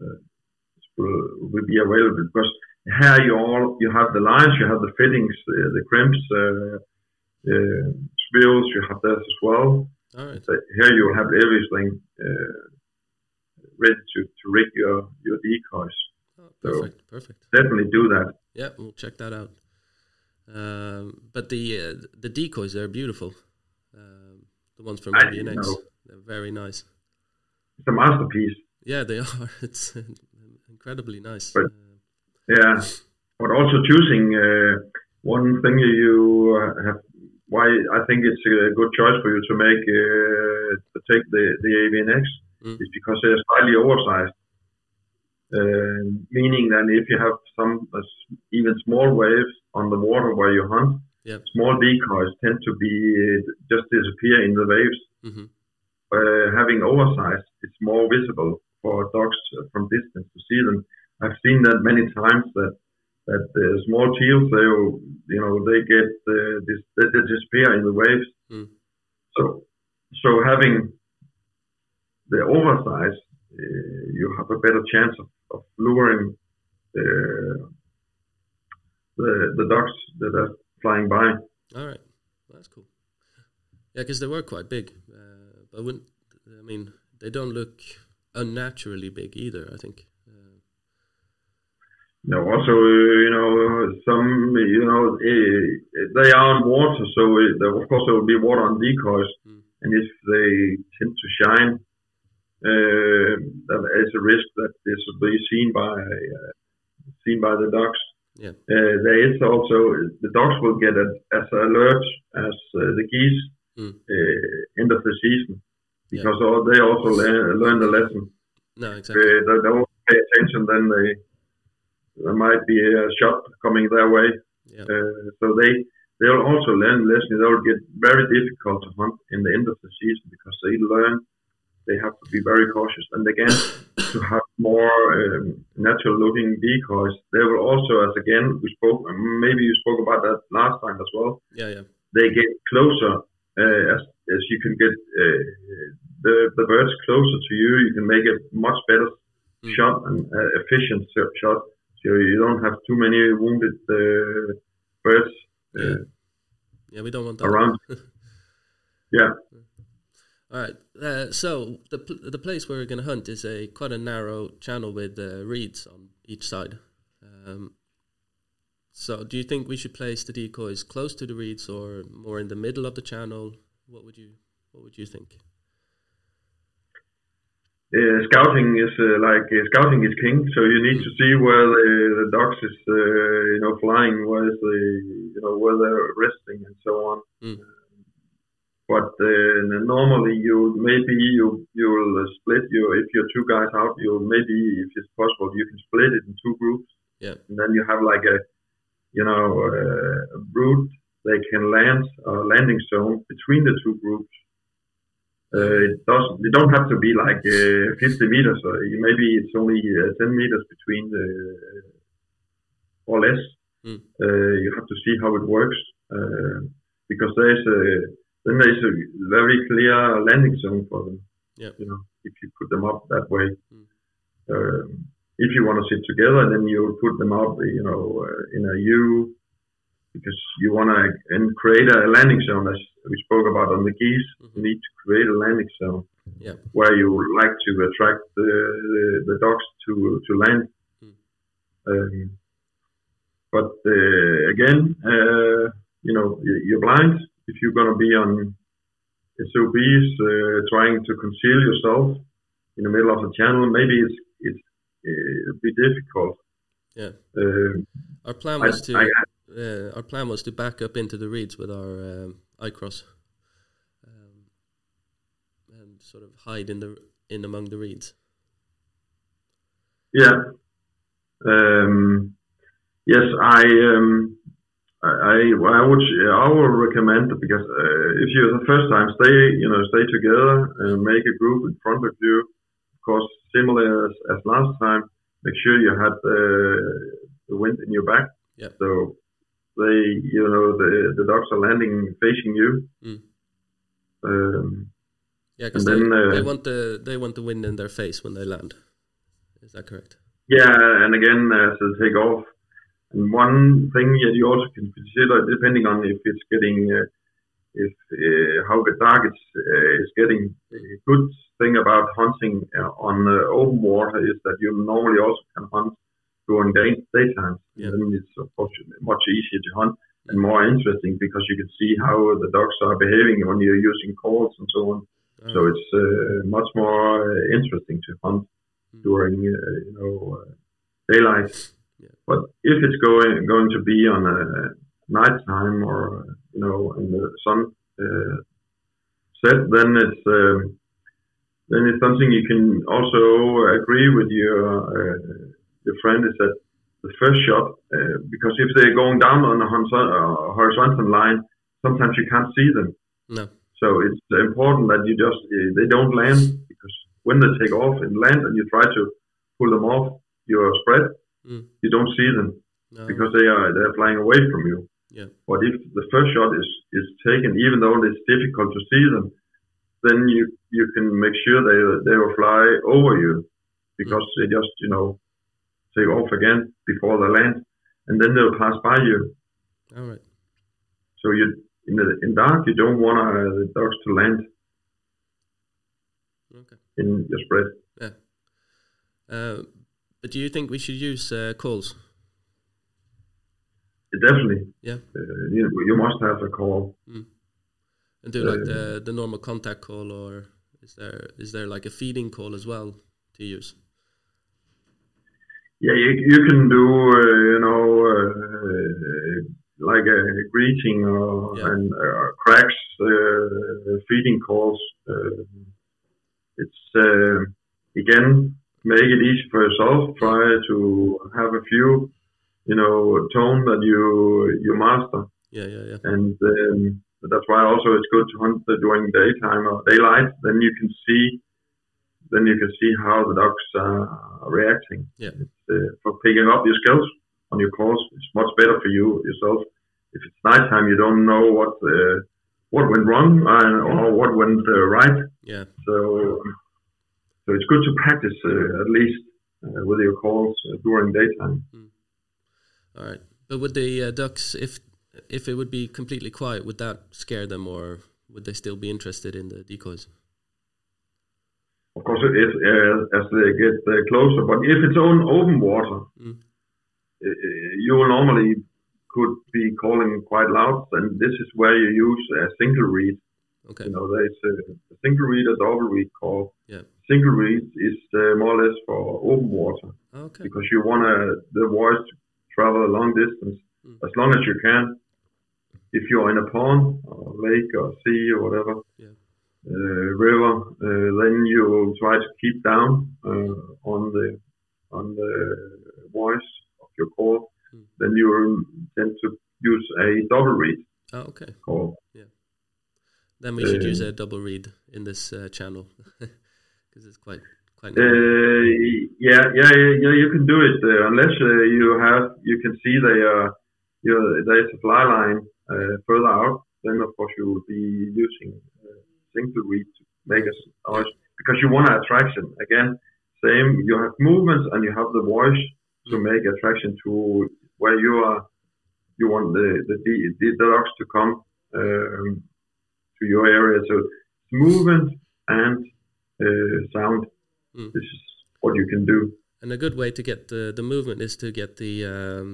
[SPEAKER 5] Uh, it will, will be available because here you all you have the lines, you have the fittings, uh, the crimps, uh, uh, spills. You have that as well.
[SPEAKER 4] All right.
[SPEAKER 5] So here you will have everything uh, ready to, to rig your your decoys.
[SPEAKER 4] Oh, perfect. Perfect.
[SPEAKER 5] Definitely do that.
[SPEAKER 4] Yeah, we'll check that out. Um, but the uh, the decoys they're beautiful. Um, the ones from
[SPEAKER 5] I
[SPEAKER 4] Indian
[SPEAKER 5] didn't
[SPEAKER 4] X.
[SPEAKER 5] know.
[SPEAKER 4] They're very nice.
[SPEAKER 5] It's a masterpiece.
[SPEAKER 4] Yeah, they are. It's uh, incredibly nice.
[SPEAKER 5] Right.
[SPEAKER 4] Uh,
[SPEAKER 5] Yeah, but also choosing uh, one thing you uh, have. Why I think it's a good choice for you to make uh, to take the the AVNX
[SPEAKER 4] Mm.
[SPEAKER 5] is because they're slightly oversized. Uh, meaning that if you have some uh, s- even small waves on the water where you hunt,
[SPEAKER 4] Yep.
[SPEAKER 5] small decoys tend to be uh, just disappear in the waves.
[SPEAKER 4] mhm.
[SPEAKER 5] uh, having oversize, it's more visible for dogs uh, from distance to see them. I've seen that many times that that uh, small teals, they will- you know they get uh, this they, they disappear in the waves.
[SPEAKER 4] Mm.
[SPEAKER 5] So so having the oversize, uh, you have a better chance of, of luring uh, the the dogs that are flying by.
[SPEAKER 4] All right, that's cool. Yeah, because they were quite big, uh, but wouldn't I mean they don't look unnaturally big either. I think. Uh,
[SPEAKER 5] No, also, uh, you know, some, you know, eh, they are on water, so it, there- of course there will be water on decoys,
[SPEAKER 4] Mm.
[SPEAKER 5] and if they tend to shine, uh, there is a risk that this will be seen by uh, seen by the dogs.
[SPEAKER 4] Yeah.
[SPEAKER 5] Uh, there is also the dogs will get a, as alert as uh, the geese
[SPEAKER 4] Mm.
[SPEAKER 5] uh, end of the season
[SPEAKER 4] Yeah.
[SPEAKER 5] because all, they also learn, learn the lesson
[SPEAKER 4] no, exactly.
[SPEAKER 5] they, they don't pay attention, then they there might be a shot coming their way.
[SPEAKER 4] Yeah.
[SPEAKER 5] Uh, so they they'll also learn lessons. They'll get very difficult to hunt in the end of the season because they learn they have to be very cautious. And again, to have more um, natural looking decoys, they will also, as again we spoke, maybe you spoke about that last time as well
[SPEAKER 4] Yeah, yeah,
[SPEAKER 5] they get closer uh, as, as you can get uh, the the birds closer to you. You can make a much better
[SPEAKER 4] Mm.
[SPEAKER 5] shot and uh, efficient so- shot, so you don't have too many wounded uh, birds uh,
[SPEAKER 4] Yeah. yeah. We don't want that.
[SPEAKER 5] around. yeah,
[SPEAKER 4] All right. Uh, so the pl- the place where we're going to hunt is a quite a narrow channel with uh, reeds on each side. Um, so do you think we should place the decoys close to the reeds or more in the middle of the channel? What would you What would you think?
[SPEAKER 5] uh, scouting is uh, like uh, scouting is king. So you need to see where the, the dogs is uh, you know flying, where is the you know where they're resting and so on. Um,
[SPEAKER 4] Mm.
[SPEAKER 5] But uh, n- normally you maybe you you will uh, split your if you're two guys out you will maybe if it's possible you can split it in two groups.
[SPEAKER 4] Yeah.
[SPEAKER 5] And then you have like a you know uh, a route they can land a landing zone between the two groups. Uh, it doesn't. You don't have to be like uh, 50 meters. Or maybe it's only uh, 10 meters between the or less.
[SPEAKER 4] Mm.
[SPEAKER 5] Uh, you have to see how it works uh, because there's a then there's a very clear landing zone for them.
[SPEAKER 4] Yeah.
[SPEAKER 5] You know, if you put them up that way.
[SPEAKER 4] Mm.
[SPEAKER 5] Um, if you want to sit together, then you put them up, you know, uh, in a U, because you want to and create a landing zone as we spoke about on the geese. You need to create a landing zone
[SPEAKER 4] Mm-hmm. Yeah.
[SPEAKER 5] where you would like to attract the the dogs to to land.
[SPEAKER 4] Mm.
[SPEAKER 5] Um, but uh, again, uh, you know, y- you're blind if you're going to be on SOBs uh, trying to conceal yourself in the middle of a channel. Maybe it's it's uh, it'd be difficult.
[SPEAKER 4] Yeah.
[SPEAKER 5] Um,
[SPEAKER 4] Our plan
[SPEAKER 5] I,
[SPEAKER 4] was to
[SPEAKER 5] I,
[SPEAKER 4] uh, our plan was to back up into the reeds with our um, iCross, um, and sort of hide in the in among the reeds.
[SPEAKER 5] Yeah. Um, yes, I um, I I I would I would recommend that because uh, if you're the first time, stay you know stay together and make a group in front of you. Of course, similar as, as last time, make sure you had uh, the wind in your back.
[SPEAKER 4] Yeah.
[SPEAKER 5] So they you know the the dogs are landing facing you.
[SPEAKER 4] Mm.
[SPEAKER 5] Um,
[SPEAKER 4] Yeah, because they,
[SPEAKER 5] And then, uh,
[SPEAKER 4] they want the they want the wind in their face when they land. Is that correct?
[SPEAKER 5] Yeah, and again, uh, as a takeoff, and one thing that you also can consider, depending on if it's getting, uh, if uh, how the dark it's, uh, is getting, a good thing about hunting uh, on uh, open water is that you normally also can hunt during day, daytime.
[SPEAKER 4] Yeah.
[SPEAKER 5] Then it's of course much easier to hunt. and more interesting because you can see how the ducks are behaving when you're using calls and so on.
[SPEAKER 4] Uh,
[SPEAKER 5] So it's uh, much more uh, interesting to hunt during uh, you know uh, daylight.
[SPEAKER 4] Yeah.
[SPEAKER 5] But if it's going going to be on a nighttime or uh, you know in the sun uh, set, then it's um, then it's something you can also agree with your uh, your friend is that the first shot uh, because if they're going down on a horizon- uh, horizontal line, sometimes you can't see them.
[SPEAKER 4] no.
[SPEAKER 5] So it's important that you just uh, they don't land because when they take off and land and you try to pull them off your spread,
[SPEAKER 4] Mm.
[SPEAKER 5] you don't see them
[SPEAKER 4] no.
[SPEAKER 5] because they are they're flying away from you.
[SPEAKER 4] Yeah.
[SPEAKER 5] But if the first shot is is taken, even though it's difficult to see them, then you you can make sure they they will fly over you because they just you know take off again before they land, and then they'll pass by you.
[SPEAKER 4] All right.
[SPEAKER 5] So you in the in dark you don't want uh, the dogs to land
[SPEAKER 4] Okay.
[SPEAKER 5] in your spread.
[SPEAKER 4] Yeah. Uh, but do you think we should use uh, calls?
[SPEAKER 5] Definitely,
[SPEAKER 4] Yeah.
[SPEAKER 5] uh, you, you must have a call.
[SPEAKER 4] And
[SPEAKER 5] Uh,
[SPEAKER 4] do like the the normal contact call, or is there is there like a feeding call as well to use?
[SPEAKER 5] Yeah, you, you can do uh, you know uh, like a greeting or
[SPEAKER 4] Yeah.
[SPEAKER 5] and uh, cracks uh, feeding calls. Uh, it's uh, again make it easy for yourself. Try to have a few you know tone that you you master.
[SPEAKER 4] Yeah, yeah, yeah.
[SPEAKER 5] and um, that's why also it's good to hunt the- during daytime or daylight. Then you can see, then you can see how the ducks are reacting.
[SPEAKER 4] Yeah.
[SPEAKER 5] It's, uh, for picking up your skills on your course, it's much better for you yourself. If it's nighttime, you don't know what uh, what went wrong and, or what went uh, right.
[SPEAKER 4] Yeah.
[SPEAKER 5] So, so it's good to practice uh, at least uh, with your calls uh, during daytime.
[SPEAKER 4] All right. But would the uh, ducks, if if it would be completely quiet, would that scare them, or would they still be interested in the decoys?
[SPEAKER 5] Of course, it is uh, as they get uh, closer. But if it's on open water,
[SPEAKER 4] Mm.
[SPEAKER 5] uh, uh, you will normally could be calling quite loud, and this is where you use a single read.
[SPEAKER 4] Okay.
[SPEAKER 5] You know, there's a, a single read, a double read call.
[SPEAKER 4] Yeah.
[SPEAKER 5] Single read is uh, more or less for open water
[SPEAKER 4] Ah, Okay.
[SPEAKER 5] because you want the voice to travel a long distance
[SPEAKER 4] Mm.
[SPEAKER 5] as long as you can. If you're in a pond or lake or sea or whatever,
[SPEAKER 4] Yeah.
[SPEAKER 5] uh, river, uh, then you try to keep down uh, on the on the voice of your call.
[SPEAKER 4] Mm.
[SPEAKER 5] Then you tend to use a double read
[SPEAKER 4] Oh, okay.
[SPEAKER 5] call.
[SPEAKER 4] Then we should use
[SPEAKER 5] Uh,
[SPEAKER 4] a double read in this uh, channel because it's quite quite.
[SPEAKER 5] Uh, yeah, yeah, yeah, yeah, you can do it uh, unless uh, you have you can see they uh, you there's a fly line uh, further out. Then of course you will be using uh, single read to make a s- noise because you want attraction again. Same, you have movements and you have the voice to make attraction to where you are. You want the the the, the dogs to come um, to your area. So movement and uh, sound this is what you can do.
[SPEAKER 4] And a good way to get the, the movement is to get the um,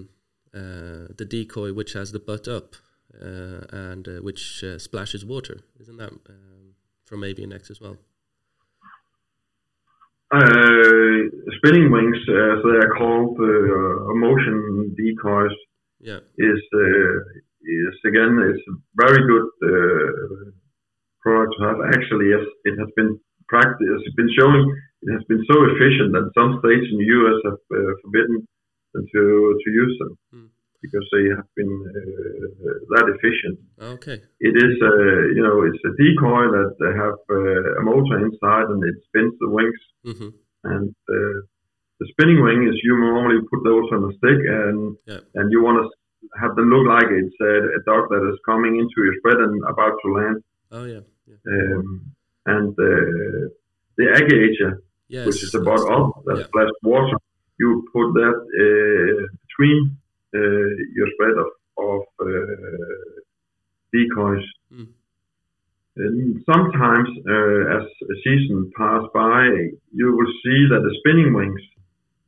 [SPEAKER 4] uh, the decoy which has the butt up uh, and uh, which uh, splashes water. Isn't that um, from ABNX as well?
[SPEAKER 5] Uh, spinning wings, as they are called, uh, motion decoys,
[SPEAKER 4] Yeah.
[SPEAKER 5] is uh, is again it's a very good uh, product to have. Actually, yes, it has been practiced, it's been showing it has been so efficient that some states in the U.S. have uh, forbidden them to to use them
[SPEAKER 4] Hmm.
[SPEAKER 5] because they have been uh, that efficient.
[SPEAKER 4] Ah, Okay.
[SPEAKER 5] it is a you know it's a decoy that they have uh, a motor inside and it spins the wings
[SPEAKER 4] hmm
[SPEAKER 5] and uh, the spinning wing is you normally put those on a stick and
[SPEAKER 4] Yeah.
[SPEAKER 5] and you want to have them look like it's a, a dog that is coming into your spread and about to land
[SPEAKER 4] Oh yeah. Yeah.
[SPEAKER 5] um, and uh, the agator
[SPEAKER 4] Yes.
[SPEAKER 5] which is the
[SPEAKER 4] that's
[SPEAKER 5] bottom up that
[SPEAKER 4] yeah.
[SPEAKER 5] splashed water you put that uh, between uh, your spread of, of uh, decoys
[SPEAKER 4] Mm.
[SPEAKER 5] and sometimes, uh, as a season pass by, you will see that the spinning wings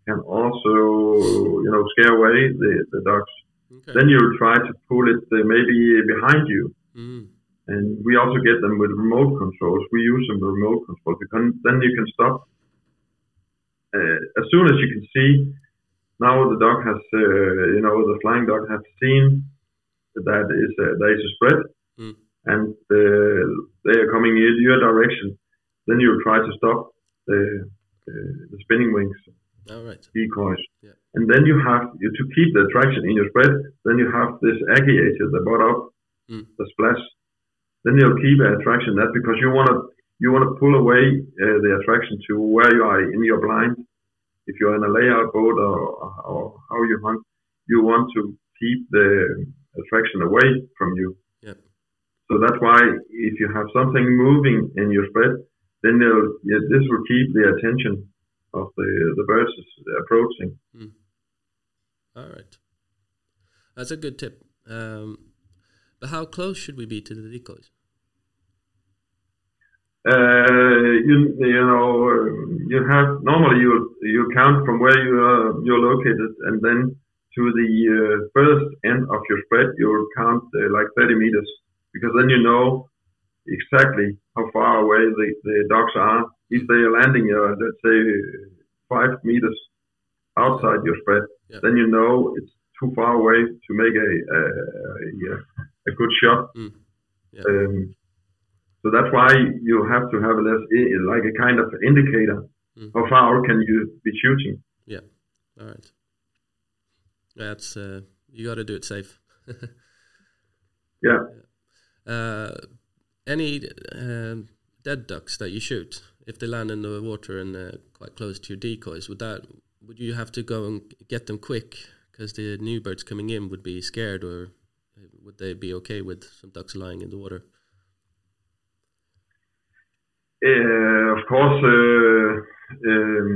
[SPEAKER 5] can also, you know, scare away the, the ducks.
[SPEAKER 4] Okay.
[SPEAKER 5] Then you try to pull it uh, maybe behind you.
[SPEAKER 4] Mm.
[SPEAKER 5] And we also get them with remote controls. We use them with remote controls because then you can stop. Uh, as soon as you can see, now the dog has, uh, you know, the flying dog has seen that is a, there is a spread
[SPEAKER 4] Mm.
[SPEAKER 5] and uh, they are coming in your direction. Then you try to stop the, uh, the spinning wings
[SPEAKER 4] All right.
[SPEAKER 5] decoys.
[SPEAKER 4] Yeah.
[SPEAKER 5] And then you have you, to keep the traction in your spread. Then you have this agiator, the butt up,
[SPEAKER 4] Mm.
[SPEAKER 5] the splash. Then you'll keep a attraction that because you want to you want to pull away uh, the attraction to where you are in your blind. If you're in a layout boat or, or how you hunt, you want to keep the attraction away from you.
[SPEAKER 4] Yep.
[SPEAKER 5] So that's why if you have something moving in your spread, then they'll, yeah, this will keep the attention of the the birds is approaching.
[SPEAKER 4] All right. That's a good tip. Um, but how close should we be to the decoys?
[SPEAKER 5] Uh, you, you know, um, you have normally you you count from where you are you're located, and then to the uh, first end of your spread, you'll count uh, like 30 meters, because then you know exactly how far away the, the dogs are. If they are landing, uh, let's say five meters outside your spread,
[SPEAKER 4] Yeah.
[SPEAKER 5] then you know it's too far away to make a a, a, a good shot.
[SPEAKER 4] Mm. Yeah.
[SPEAKER 5] Um, so that's why you have to have a less, i- like a kind of indicator.
[SPEAKER 4] Mm.
[SPEAKER 5] How far out can you be shooting?
[SPEAKER 4] All right. That's uh, you got to do it safe.
[SPEAKER 5] Yeah.
[SPEAKER 4] Uh, any um, dead ducks that you shoot, if they land in the water and uh, quite close to your decoys, would that would you have to go and get them quick because the new birds coming in would be scared, or would they be okay with some ducks lying in the water?
[SPEAKER 5] Uh, of course, uh, um,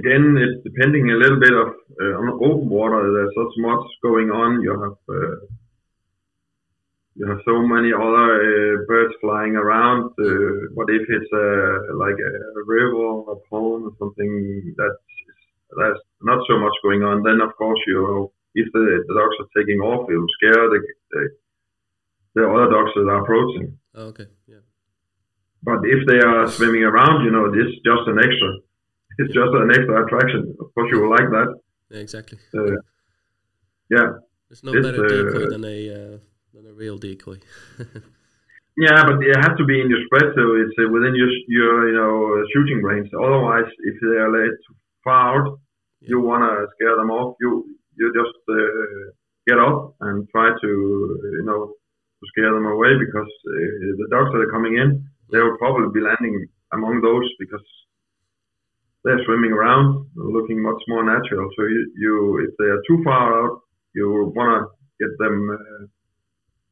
[SPEAKER 5] again, it's depending a little bit of uh, on open water. There's not much going on. You have uh, you have so many other uh, birds flying around. Uh, what if it's uh, like a river or a pond or something that's that's not so much going on? Then of course you know if the, the dogs are taking off, it will scare the, the the other dogs that are approaching.
[SPEAKER 4] Oh, okay. Yeah.
[SPEAKER 5] But if they are swimming around, you know, it's just an extra. It's just an extra attraction. Of course, you will like that.
[SPEAKER 4] Yeah. Exactly.
[SPEAKER 5] Uh, yeah,
[SPEAKER 4] There's no
[SPEAKER 5] It's,
[SPEAKER 4] better decoy
[SPEAKER 5] uh,
[SPEAKER 4] than a uh, than a real decoy.
[SPEAKER 5] yeah, but it has to be in your spread, so it's uh, within your your you know uh, shooting range. Otherwise, if they are laid too far out, you wanna scare them off. You you just uh, get up and try to you know to scare them away because uh, the dogs that are coming in, they will probably be landing among those because they're swimming around, looking much more natural. So you, you if they are too far out, you wanna get them uh,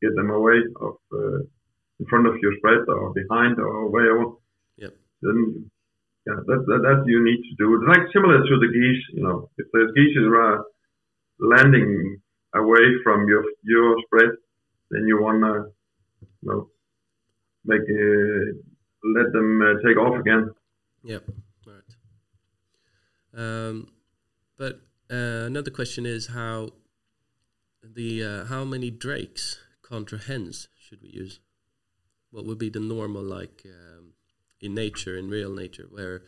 [SPEAKER 5] get them away of uh, in front of your spread or behind or wherever.
[SPEAKER 4] Yep.
[SPEAKER 5] Then yeah, that, that that you need to do. It's like similar to the geese, you know. If the geese are landing away from your your spread, then you wanna, you know, make uh, let them uh, take off again.
[SPEAKER 4] Yep. All right. Um, but uh, another question is how the uh, how many drakes contra hens should we use? What would be the normal like um, in nature, in real nature, where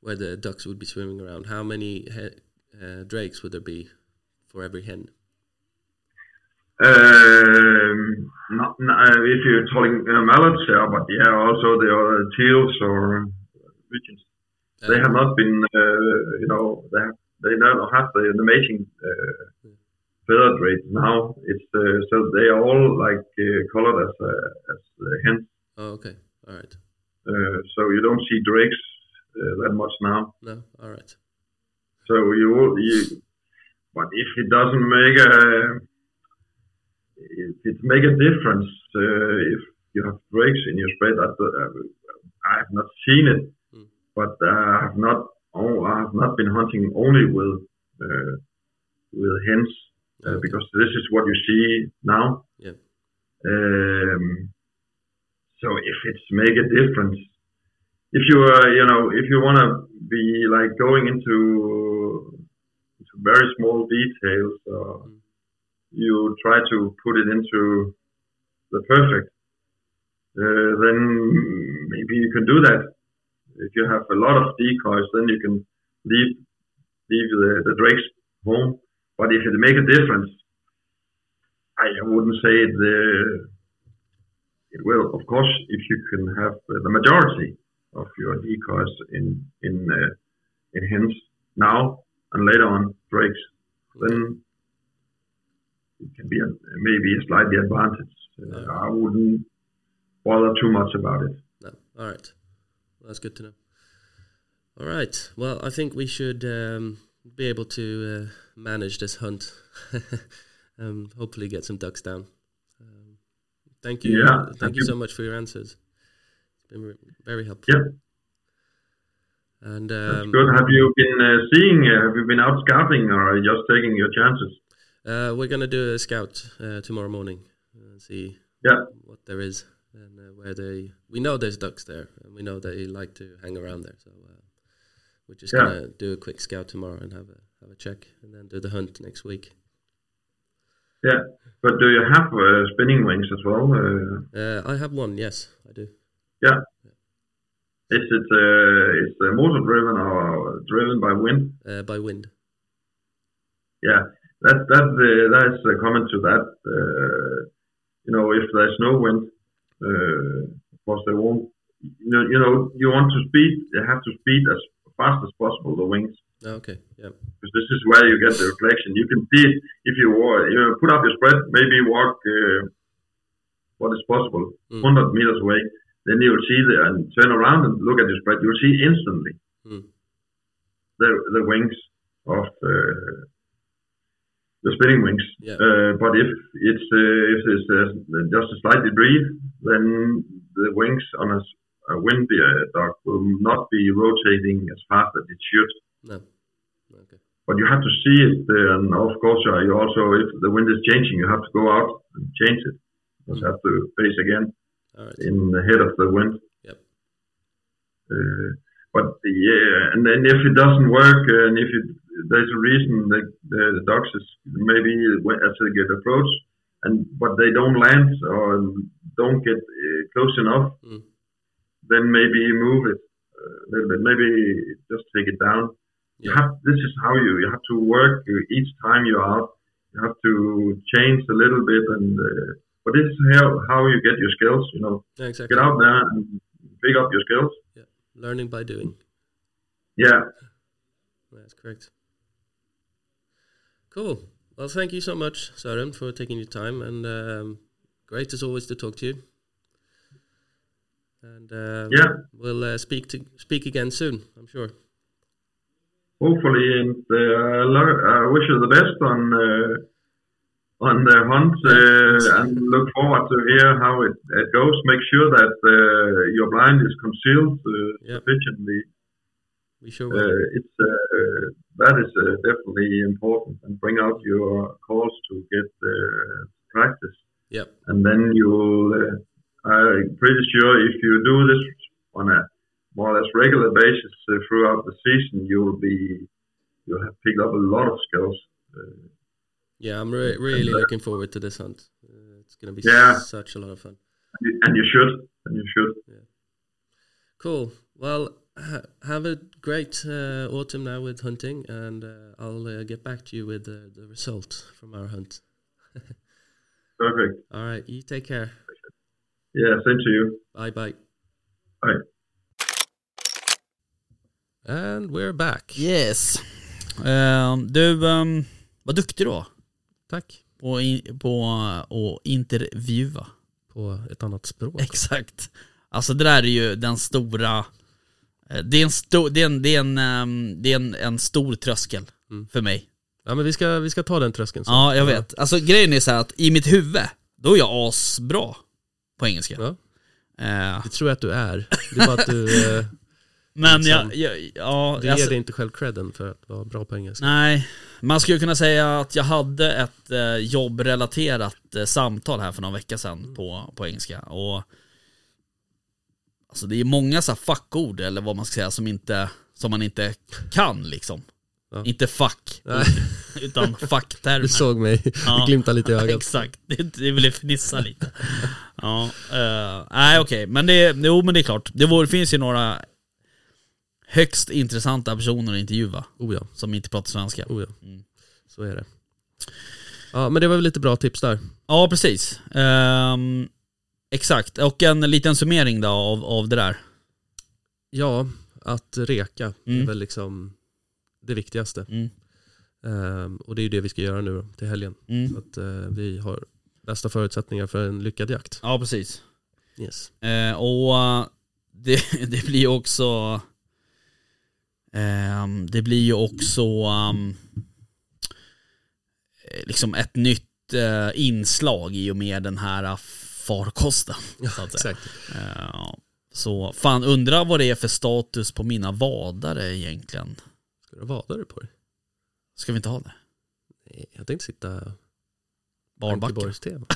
[SPEAKER 4] where the ducks would be swimming around? How many he- uh, drakes would there be for every hen?
[SPEAKER 5] Um, not, not, if you're talking uh, mallards, yeah, but yeah, also the other teals or uh, pigeons. they have not been, uh, you know, they have, they now have the, the mating uh, feathered rate now. It's uh, so they are all like uh, colored as uh, as uh, hens.
[SPEAKER 4] Oh, okay. All right.
[SPEAKER 5] Uh, so you don't see drakes uh, that much now.
[SPEAKER 4] No. All right.
[SPEAKER 5] So you will, you, but if it doesn't make a, if it make a difference uh, if you have drakes in your spread, I, I have not seen it,
[SPEAKER 4] Mm.
[SPEAKER 5] but uh, I have not. Oh, I have not been hunting only with uh, with hens uh,
[SPEAKER 4] Okay.
[SPEAKER 5] because this is what you see now.
[SPEAKER 4] Yeah.
[SPEAKER 5] Um, so if it's make a difference, if you are, you know, if you want to be like going into into very small details, uh,
[SPEAKER 4] Mm.
[SPEAKER 5] you try to put it into the perfect, uh, then maybe you can do that. If you have a lot of decoys, then you can leave leave the, the drakes home. But if it make a difference, I wouldn't say it, uh, it will. Of course, if you can have uh, the majority of your decoys in in uh, in hints now and later on drakes, then it can be a, maybe a slightly advantage. Uh, I wouldn't bother too much about it.
[SPEAKER 4] No. All right. Well, that's good to know. All right. Well, I think we should um, be able to uh, manage this hunt. um, hopefully, get some ducks down. Um, thank you.
[SPEAKER 5] Yeah,
[SPEAKER 4] thank,
[SPEAKER 5] thank
[SPEAKER 4] you
[SPEAKER 5] you.
[SPEAKER 4] so much for your answers. It's been re- very helpful.
[SPEAKER 5] Yeah,
[SPEAKER 4] And
[SPEAKER 5] that's
[SPEAKER 4] um,
[SPEAKER 5] good. Have you been uh, seeing? Uh, have you been out scouting, or are you just taking your chances?
[SPEAKER 4] uh, we're gonna do a scout uh, tomorrow morning uh, and see
[SPEAKER 5] Yeah.
[SPEAKER 4] what there is and uh, where they. We know there's ducks there, and we know they like to hang around there. So uh, we're just
[SPEAKER 5] Yeah.
[SPEAKER 4] gonna do a quick scout tomorrow and have a have a check, and then do the hunt next week.
[SPEAKER 5] Yeah, but do you have uh, spinning wings as well? Uh,
[SPEAKER 4] Uh, I have one. Yes, I do.
[SPEAKER 5] yeah. Is it uh, is the motor driven or driven by wind?
[SPEAKER 4] Uh, by wind.
[SPEAKER 5] Yeah, that that uh, that's a comment to that. Uh, you know, if there's no wind, uh, of course they won't. You know, you know, you want to speed. You have to speed as fast as possible the wings.
[SPEAKER 4] Oh, okay. Yeah.
[SPEAKER 5] because this is where you get the reflection. You can see it if you wa- you know, put up your spread, maybe walk uh, what is possible,
[SPEAKER 4] Mm.
[SPEAKER 5] 100 meters away. Then you'll see the and turn around and look at your spread. You'll see instantly
[SPEAKER 4] Mm.
[SPEAKER 5] the the wings of uh, the spinning wings.
[SPEAKER 4] Yeah.
[SPEAKER 5] Uh, but if it's uh, if it's uh, just a slightly breeze, then the wings on a, s- a wind uh, dog will not be rotating as fast as it should
[SPEAKER 4] No. Okay.
[SPEAKER 5] but you have to see it. uh, And of course, uh, you also, if the wind is changing, you have to go out and change it. You
[SPEAKER 4] Mm.
[SPEAKER 5] have to face again
[SPEAKER 4] All right.
[SPEAKER 5] in the uh, head of the wind.
[SPEAKER 4] Yep.
[SPEAKER 5] Uh, but yeah, and then if it doesn't work, uh, and if it, there's a reason that the, the dogs is maybe when- as they get approach, and but they don't land or don't get uh, close enough,
[SPEAKER 4] Mm.
[SPEAKER 5] then maybe move it uh, a little bit. Maybe just take it down you
[SPEAKER 4] Yeah.
[SPEAKER 5] have this is how you you have to work you, each time you're out you have to change a little bit and uh, but this is how how you get your skills you know
[SPEAKER 4] Yeah, exactly.
[SPEAKER 5] get out there and pick up your skills
[SPEAKER 4] Learning by doing.
[SPEAKER 5] yeah
[SPEAKER 4] That's correct. Cool. Well, thank you so much, Søren, for taking your time, and um, great as always to talk to you. And uh,
[SPEAKER 5] Yeah.
[SPEAKER 4] we'll uh, speak to speak again soon. I'm sure.
[SPEAKER 5] hopefully and uh, I lo- I wish you the best on uh, on the hunt uh, and look forward to hear how it, it goes make sure that uh, your blind is concealed uh,
[SPEAKER 4] Yeah.
[SPEAKER 5] sufficiently
[SPEAKER 4] We sure will.
[SPEAKER 5] uh, it's uh, that is uh, definitely important and bring out your calls to get uh, practice
[SPEAKER 4] Yep.
[SPEAKER 5] and then you'll uh, i'm pretty sure if you do this on a more or less regular basis uh, throughout the season you'll be you'll have picked up a lot of skills uh,
[SPEAKER 4] Yeah, I'm re- really looking forward to this hunt. Uh, it's gonna be
[SPEAKER 5] Yeah.
[SPEAKER 4] such a lot of fun.
[SPEAKER 5] and you- and you should and you should
[SPEAKER 4] Cool. Well, ha- have a great uh, autumn now with hunting, and uh, I'll uh, get back to you with the, the result from our hunt.
[SPEAKER 5] perfect
[SPEAKER 4] All right, you take care.
[SPEAKER 5] yeah same to you
[SPEAKER 4] Bye bye.
[SPEAKER 5] Bye.
[SPEAKER 4] And we're back.
[SPEAKER 3] Yes. Ehm, du, ehm, vad duktig du var
[SPEAKER 4] Tack.
[SPEAKER 3] på, i- på eh, att intervjua.
[SPEAKER 4] På ett annat språk.
[SPEAKER 3] Exakt. Alltså det där är ju den stora, eh, det är en, sto, det är en, det är en, ehm, det är en, en stor tröskel
[SPEAKER 4] Mm.
[SPEAKER 3] för mig.
[SPEAKER 4] Ja, men vi ska, vi ska ta den tröskeln. sen.
[SPEAKER 3] Ja, jag vet. Alltså grejen är så här att i mitt huvud, då är jag asbra på engelska.
[SPEAKER 4] Ja.
[SPEAKER 3] Eh,
[SPEAKER 4] Det tror jag att du är. Det är bara att du, eh,
[SPEAKER 3] men
[SPEAKER 4] Liksom.
[SPEAKER 3] jag, jag ja,
[SPEAKER 4] du ger
[SPEAKER 3] alltså-
[SPEAKER 4] dig inte själv credden för att vara bra på engelska.
[SPEAKER 3] Nej, man skulle kunna säga att jag hade ett eh, jobbrelaterat eh, samtal här för någon vecka sedan på, på engelska. Och, alltså det är många så här fuckord eller vad man ska säga som, inte, som man inte kan liksom. Inte fuck,
[SPEAKER 4] Nej,
[SPEAKER 3] utan
[SPEAKER 4] du
[SPEAKER 3] fuck-termer.
[SPEAKER 4] såg mig.
[SPEAKER 3] Ja.
[SPEAKER 4] Du glimtade lite i ögat.
[SPEAKER 3] Exakt, det, det blev fnissa lite. Ja, eh, nej okej, men det, jo men det är klart. Det vore, finns ju några högst intressanta personer att intervjua
[SPEAKER 4] Oh ja,
[SPEAKER 3] som inte pratar svenska.
[SPEAKER 4] oh ja.
[SPEAKER 3] Mm.
[SPEAKER 4] Så är det. Ja, men det var väl lite bra tips där.
[SPEAKER 3] Ja, precis. Ehm, exakt, och en liten summering då av, av det där.
[SPEAKER 4] Ja, att reka
[SPEAKER 3] Mm.
[SPEAKER 4] är väl liksom det viktigaste.
[SPEAKER 3] Mm.
[SPEAKER 4] Ehm, och det är ju det vi ska göra nu då, till helgen.
[SPEAKER 3] Mm.
[SPEAKER 4] Så att eh, vi har bästa förutsättningar för en lyckad jakt.
[SPEAKER 3] Ja, precis.
[SPEAKER 4] Yes.
[SPEAKER 3] Eh, och eh, det, det blir ju också... ehm, det blir ju också ehm, eh, liksom ett nytt eh, inslag i och med den här eh, farkosten. så att säga.
[SPEAKER 4] Exakt.
[SPEAKER 3] Eh, så fan, undrar vad det är för status på mina vadare egentligen.
[SPEAKER 4] Ska du ha vadare på dig?
[SPEAKER 3] Ska vi inte ha det?
[SPEAKER 4] Nej, Eh, Jag tänkte sitta
[SPEAKER 3] Barbacken.
[SPEAKER 4] Ankeborgs-tema.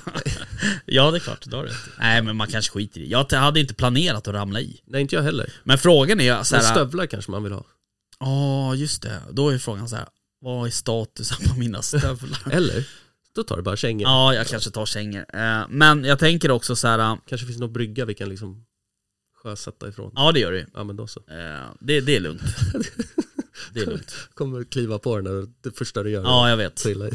[SPEAKER 3] Ja, det är klart. Det har du rätt i. Nej, men man kanske skiter i. Jag hade inte planerat att ramla i.
[SPEAKER 4] Nej, inte jag heller.
[SPEAKER 3] Men frågan är så
[SPEAKER 4] Men
[SPEAKER 3] här...
[SPEAKER 4] stövlar kanske man vill ha.
[SPEAKER 3] Ja, just det. Då är frågan så här, vad är statusen på mina stövlar?
[SPEAKER 4] Eller, då tar du bara kängor.
[SPEAKER 3] ja, jag kanske tar kängor. Eh, Men jag tänker också så här,
[SPEAKER 4] Kanske finns någon brygga vi kan liksom sjösätta ifrån.
[SPEAKER 3] ja det gör det ju.
[SPEAKER 4] Ja men då så.
[SPEAKER 3] Eh, det, det är lugnt. Det är lugnt.
[SPEAKER 4] Kommer du kliva på den och det första du gör är
[SPEAKER 3] Ja,
[SPEAKER 4] att
[SPEAKER 3] jag vet.
[SPEAKER 4] trilla i.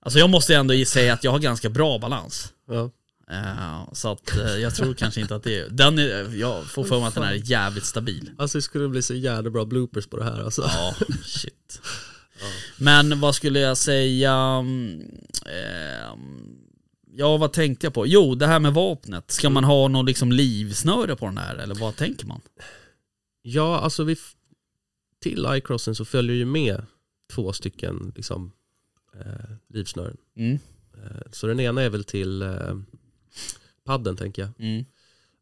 [SPEAKER 3] Alltså jag måste ändå säga att jag har ganska bra balans.
[SPEAKER 4] ja.
[SPEAKER 3] Eh, Så att eh, jag tror kanske inte att det är... Den är jag får för mig att den här är jävligt stabil.
[SPEAKER 4] Alltså det skulle bli så jävla bra bloopers på det här alltså.
[SPEAKER 3] Ja, shit. Men vad skulle jag säga? mm, ehm, Ja, vad tänkte jag på? Jo, det här med vapnet. Ska man ha någon liksom livsnöre på den här eller vad tänker man?
[SPEAKER 4] Ja, alltså vi f- till iCrossen så följer ju med två stycken liksom, eh, livsnören.
[SPEAKER 3] Mm,
[SPEAKER 4] Eh, så den ena är väl till eh, padden tänker jag.
[SPEAKER 3] mm.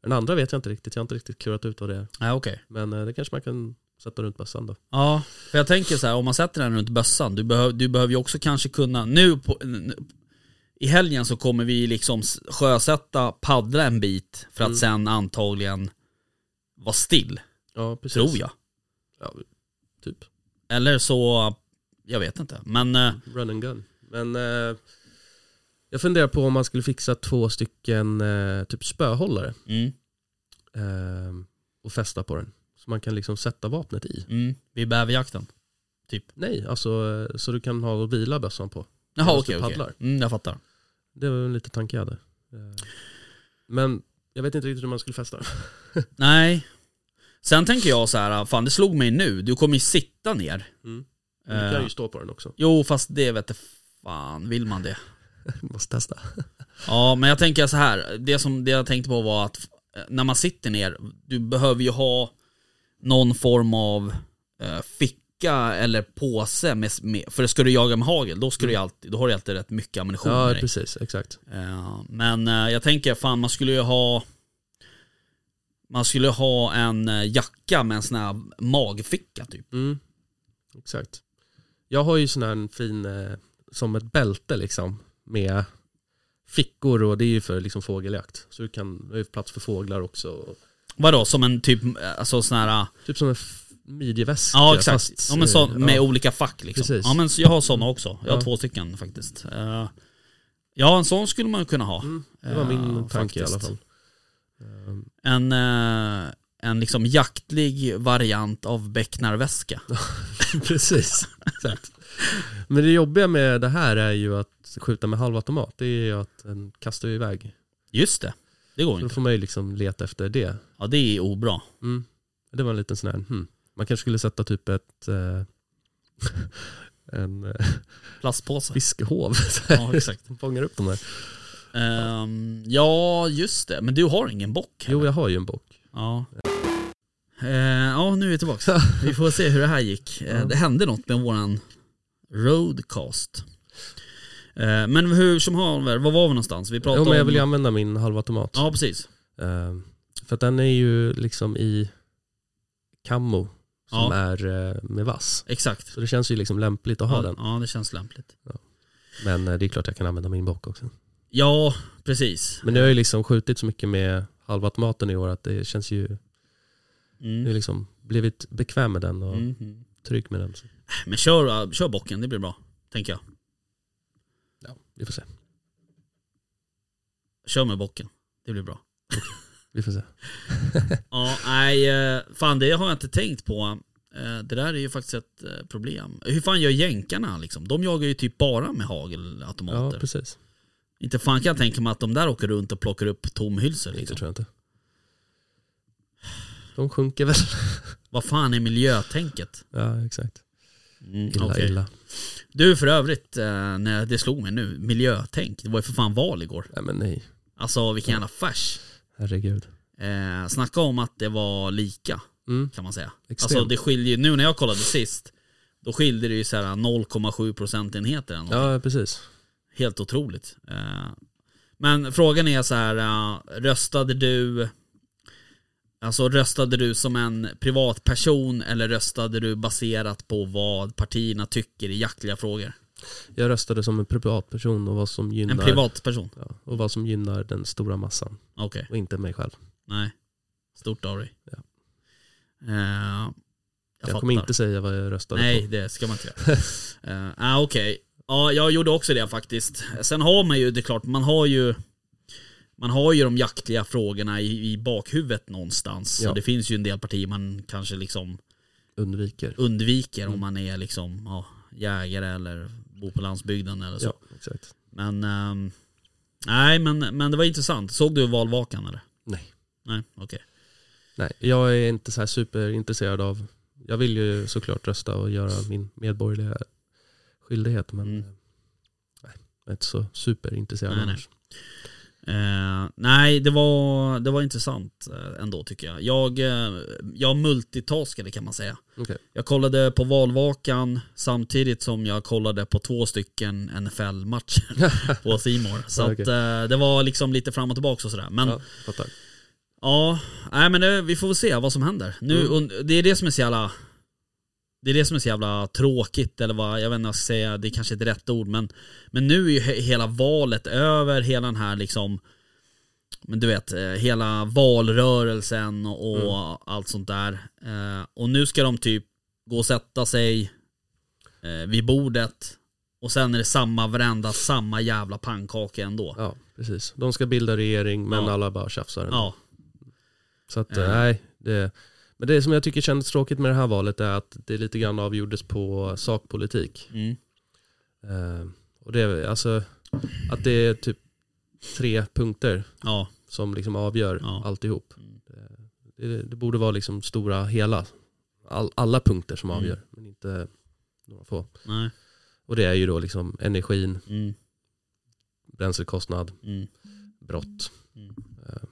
[SPEAKER 4] Den andra vet jag inte riktigt, jag har inte riktigt klurat ut vad det är.
[SPEAKER 3] Ja, okej.
[SPEAKER 4] Men eh, det kanske man kan sätta runt bössan då.
[SPEAKER 3] Ja, för jag tänker så här, om man sätter den runt bössan, du, behöv, du behöver ju också kanske kunna, nu på, n- i helgen så kommer vi liksom s- sjösätta, paddla en bit för att
[SPEAKER 4] Mm.
[SPEAKER 3] sen antagligen vara still,
[SPEAKER 4] Ja, precis.
[SPEAKER 3] tror jag.
[SPEAKER 4] Ja, typ.
[SPEAKER 3] Eller så, jag vet inte. Men eh,
[SPEAKER 4] Run and gun. Men eh, jag funderar på om man skulle fixa två stycken eh, typ spöhållare
[SPEAKER 3] mm,
[SPEAKER 4] eh, och fästa på den. Så man kan liksom sätta vapnet i.
[SPEAKER 3] mm, vid bäverjakten.
[SPEAKER 4] Nej, alltså eh, så du kan ha och vila bössan på.
[SPEAKER 3] Jaha
[SPEAKER 4] Medan
[SPEAKER 3] okej,
[SPEAKER 4] du
[SPEAKER 3] okej.
[SPEAKER 4] paddlar.
[SPEAKER 3] Mm, jag fattar.
[SPEAKER 4] Det var en liten tanke jag hade. Eh, Men jag vet inte riktigt hur man skulle fästa.
[SPEAKER 3] Nej. Sen tänker jag så här, fan det slog mig nu, du kommer ju sitta ner.
[SPEAKER 4] Mm. Du
[SPEAKER 3] Eh,
[SPEAKER 4] kan ju stå på den också.
[SPEAKER 3] Jo fast det vet jag fan, vill man det?
[SPEAKER 4] Du måste testa.
[SPEAKER 3] Ja men jag tänker så här, det som det jag tänkte på var att eh, när man sitter ner, du behöver ju ha någon form av eh, ficka eller påse med, med, för ska du jaga med hagel då, ska du ju alltid, då har du alltid rätt mycket ammunition med
[SPEAKER 4] Ja,
[SPEAKER 3] dig.
[SPEAKER 4] precis. Exakt.
[SPEAKER 3] Eh, Men eh, jag tänker fan man skulle ju ha Man skulle ha en eh, jacka med en sån här magficka typ.
[SPEAKER 4] Mm. Exakt. Jag har ju sån här fin, eh, som ett bälte liksom, med fickor och det är ju för liksom fågeljakt. Så du kan, det är ju plats för fåglar också. Och,
[SPEAKER 3] Vadå som en typ, eh, alltså sån här eh,
[SPEAKER 4] typ som en f- midjeväska.
[SPEAKER 3] Ja exakt,
[SPEAKER 4] fast,
[SPEAKER 3] ja, men så,
[SPEAKER 4] eh,
[SPEAKER 3] med
[SPEAKER 4] ja.
[SPEAKER 3] olika fack liksom.
[SPEAKER 4] Precis.
[SPEAKER 3] Ja men så jag har såna också, jag har
[SPEAKER 4] Ja.
[SPEAKER 3] två stycken faktiskt. Eh, Ja en sån skulle man kunna ha.
[SPEAKER 4] Mm, det var min
[SPEAKER 3] Ja,
[SPEAKER 4] tanke i alla
[SPEAKER 3] faktiskt.
[SPEAKER 4] fall.
[SPEAKER 3] En, eh, en liksom jaktlig variant av becknarväska.
[SPEAKER 4] Precis, exakt. Men det jobbiga med det här är ju att skjuta med halvautomat, det är ju att den kastar ju iväg.
[SPEAKER 3] Just det, det går
[SPEAKER 4] Så då
[SPEAKER 3] inte.
[SPEAKER 4] får man ju liksom leta efter det.
[SPEAKER 3] Ja det är obra.
[SPEAKER 4] Mm. Det var en liten sån här, hmm. man kanske skulle sätta typ ett eh, en eh,
[SPEAKER 3] Plastpåse.
[SPEAKER 4] fiskehov
[SPEAKER 3] Ja exakt.
[SPEAKER 4] som fångar upp de här.
[SPEAKER 3] Ehm, ja, just det. Men du har ingen bock?
[SPEAKER 4] Jo, jag har ju en bock.
[SPEAKER 3] Ja. Eh, ja, nu är vi tillbaka. Vi får se hur det här gick. Eh,
[SPEAKER 4] Ja.
[SPEAKER 3] Det hände något med våran roadcast. Eh, men hur som haver, var var vi någonstans? Vi pratade
[SPEAKER 4] Jo, men jag
[SPEAKER 3] om...
[SPEAKER 4] vill ju använda min halvautomat.
[SPEAKER 3] Ja, precis.
[SPEAKER 4] Eh, för att den är ju liksom i kammo som
[SPEAKER 3] Ja.
[SPEAKER 4] är eh, med vass.
[SPEAKER 3] Exakt.
[SPEAKER 4] Så det känns ju liksom lämpligt att ha den.
[SPEAKER 3] Ja, det känns lämpligt.
[SPEAKER 4] Men eh, det är klart jag kan använda min bock också.
[SPEAKER 3] Ja, precis.
[SPEAKER 4] Men nu har jag ju liksom skjutit så mycket med halvautomaten i år att det känns ju,
[SPEAKER 3] Mm.
[SPEAKER 4] nu liksom blivit bekväm med den och
[SPEAKER 3] Mm.
[SPEAKER 4] Tryck med den. så-
[SPEAKER 3] Men kör, kör bocken, det blir bra. Tänker jag.
[SPEAKER 4] Ja, vi får se.
[SPEAKER 3] Kör med bocken. Det blir bra.
[SPEAKER 4] Vi får se.
[SPEAKER 3] Ja, nej, eh, fan det har jag inte tänkt på. Eh, Det där är ju faktiskt ett eh, problem. Hur fan gör jänkarna liksom? De jagar ju typ bara med
[SPEAKER 4] Ja,
[SPEAKER 3] hagelautomater.
[SPEAKER 4] precis.
[SPEAKER 3] inte fan kan jag tänka mig att de där åker runt och plockar upp tomhylsor.
[SPEAKER 4] Det
[SPEAKER 3] Liksom.
[SPEAKER 4] tror jag inte. De sjunker väl.
[SPEAKER 3] Vad fan är miljötänket?
[SPEAKER 4] Ja, exakt.
[SPEAKER 3] Mm,
[SPEAKER 4] Illa,
[SPEAKER 3] okej.
[SPEAKER 4] illa.
[SPEAKER 3] Du för övrigt, eh, när det slog mig nu, miljötänk. Det var ju för fan val igår.
[SPEAKER 4] Nej, men nej.
[SPEAKER 3] Alltså vilken jävla färs.
[SPEAKER 4] Herregud.
[SPEAKER 3] Eh, snacka om att det var lika
[SPEAKER 4] Mm.
[SPEAKER 3] kan man säga.
[SPEAKER 4] Extremt.
[SPEAKER 3] Alltså det skiljer ju, nu när jag kollade sist, då skilde det ju så här 0,7 procentenheter. eller något.
[SPEAKER 4] Ja, precis.
[SPEAKER 3] Helt otroligt. Eh, Men frågan är så här, eh, röstade du Alltså röstade du som en privatperson eller röstade du baserat på vad partierna tycker i jaktliga frågor?
[SPEAKER 4] Jag röstade som en privatperson och vad som
[SPEAKER 3] En
[SPEAKER 4] gynnar,
[SPEAKER 3] privatperson?
[SPEAKER 4] ja, och vad som gynnar den stora massan
[SPEAKER 3] Okej,
[SPEAKER 4] och inte mig själv.
[SPEAKER 3] nej. Stort av dig.
[SPEAKER 4] Ja.
[SPEAKER 3] Eh, jag
[SPEAKER 4] Jag,
[SPEAKER 3] fattar.
[SPEAKER 4] kommer inte säga vad jag röstade
[SPEAKER 3] Nej,
[SPEAKER 4] på.
[SPEAKER 3] det ska man inte göra. Eh, ah, Okej, ja, jag gjorde också det faktiskt. Sen har man ju, det är klart, man har ju man har ju de jaktliga frågorna i, i bakhuvudet någonstans.
[SPEAKER 4] Ja.
[SPEAKER 3] Så det finns ju en del partier man kanske liksom
[SPEAKER 4] Undviker.
[SPEAKER 3] undviker
[SPEAKER 4] Mm.
[SPEAKER 3] om man är liksom ja, jägare eller bor på landsbygden eller så.
[SPEAKER 4] Ja, exakt.
[SPEAKER 3] Men, ehm, nej, men, men det var intressant. Såg du valvakan eller?
[SPEAKER 4] Nej.
[SPEAKER 3] Nej, okej.
[SPEAKER 4] Nej, jag är inte så här superintresserad av... Jag vill ju såklart rösta och göra min medborgerliga skyldighet, men
[SPEAKER 3] Mm.
[SPEAKER 4] eh, nej, jag är inte så superintresserad
[SPEAKER 3] Nej, nej.
[SPEAKER 4] annars.
[SPEAKER 3] Eh, nej, det var, det var intrant eh, ändå tycker jag. Jag, eh, jag multitaskade kan man säga.
[SPEAKER 4] Okej.
[SPEAKER 3] Jag kollade på valvakan samtidigt som jag kollade på två stycken NFL-matcher på Simor. Så
[SPEAKER 4] Ja,
[SPEAKER 3] att,
[SPEAKER 4] okej.
[SPEAKER 3] eh, det var liksom lite fram och tillbaka och sådär. Men
[SPEAKER 4] Ja, fattar.
[SPEAKER 3] Ja, nej men det, vi får väl se vad som händer. Nu,
[SPEAKER 4] Mm.
[SPEAKER 3] und- det är det som är så jävla... Det är det som är så jävla tråkigt, eller vad, jag vet inte vad jag ska säga, det är kanske inte rätt ord men Men nu är ju he- hela valet över, hela den här liksom Men du vet, eh, hela valrörelsen och, och
[SPEAKER 4] Mm.
[SPEAKER 3] allt sånt där eh, Och nu ska de typ gå och sätta sig eh, vid bordet Och sen är det samma varenda, samma jävla pannkaka ändå
[SPEAKER 4] Ja, precis. De ska bilda regering, men
[SPEAKER 3] Ja.
[SPEAKER 4] alla bara tjafsar. ändå.
[SPEAKER 3] Ja,
[SPEAKER 4] Så att,
[SPEAKER 3] Ja.
[SPEAKER 4] nej, det, men det som jag tycker kändes tråkigt med det här valet är att det lite grann avgjordes på sakpolitik.
[SPEAKER 3] mm,
[SPEAKER 4] Eh, och det, alltså, att det är typ tre punkter
[SPEAKER 3] ja,
[SPEAKER 4] som liksom avgör
[SPEAKER 3] Ja.
[SPEAKER 4] alltihop. Det, det, det borde vara liksom stora hela, all, alla punkter
[SPEAKER 3] Mm.
[SPEAKER 4] som avgör, men inte några få.
[SPEAKER 3] nej,
[SPEAKER 4] Och det är ju då liksom energin,
[SPEAKER 3] mm,
[SPEAKER 4] bränslekostnad,
[SPEAKER 3] mm,
[SPEAKER 4] brott.
[SPEAKER 3] mm.
[SPEAKER 4] Eh,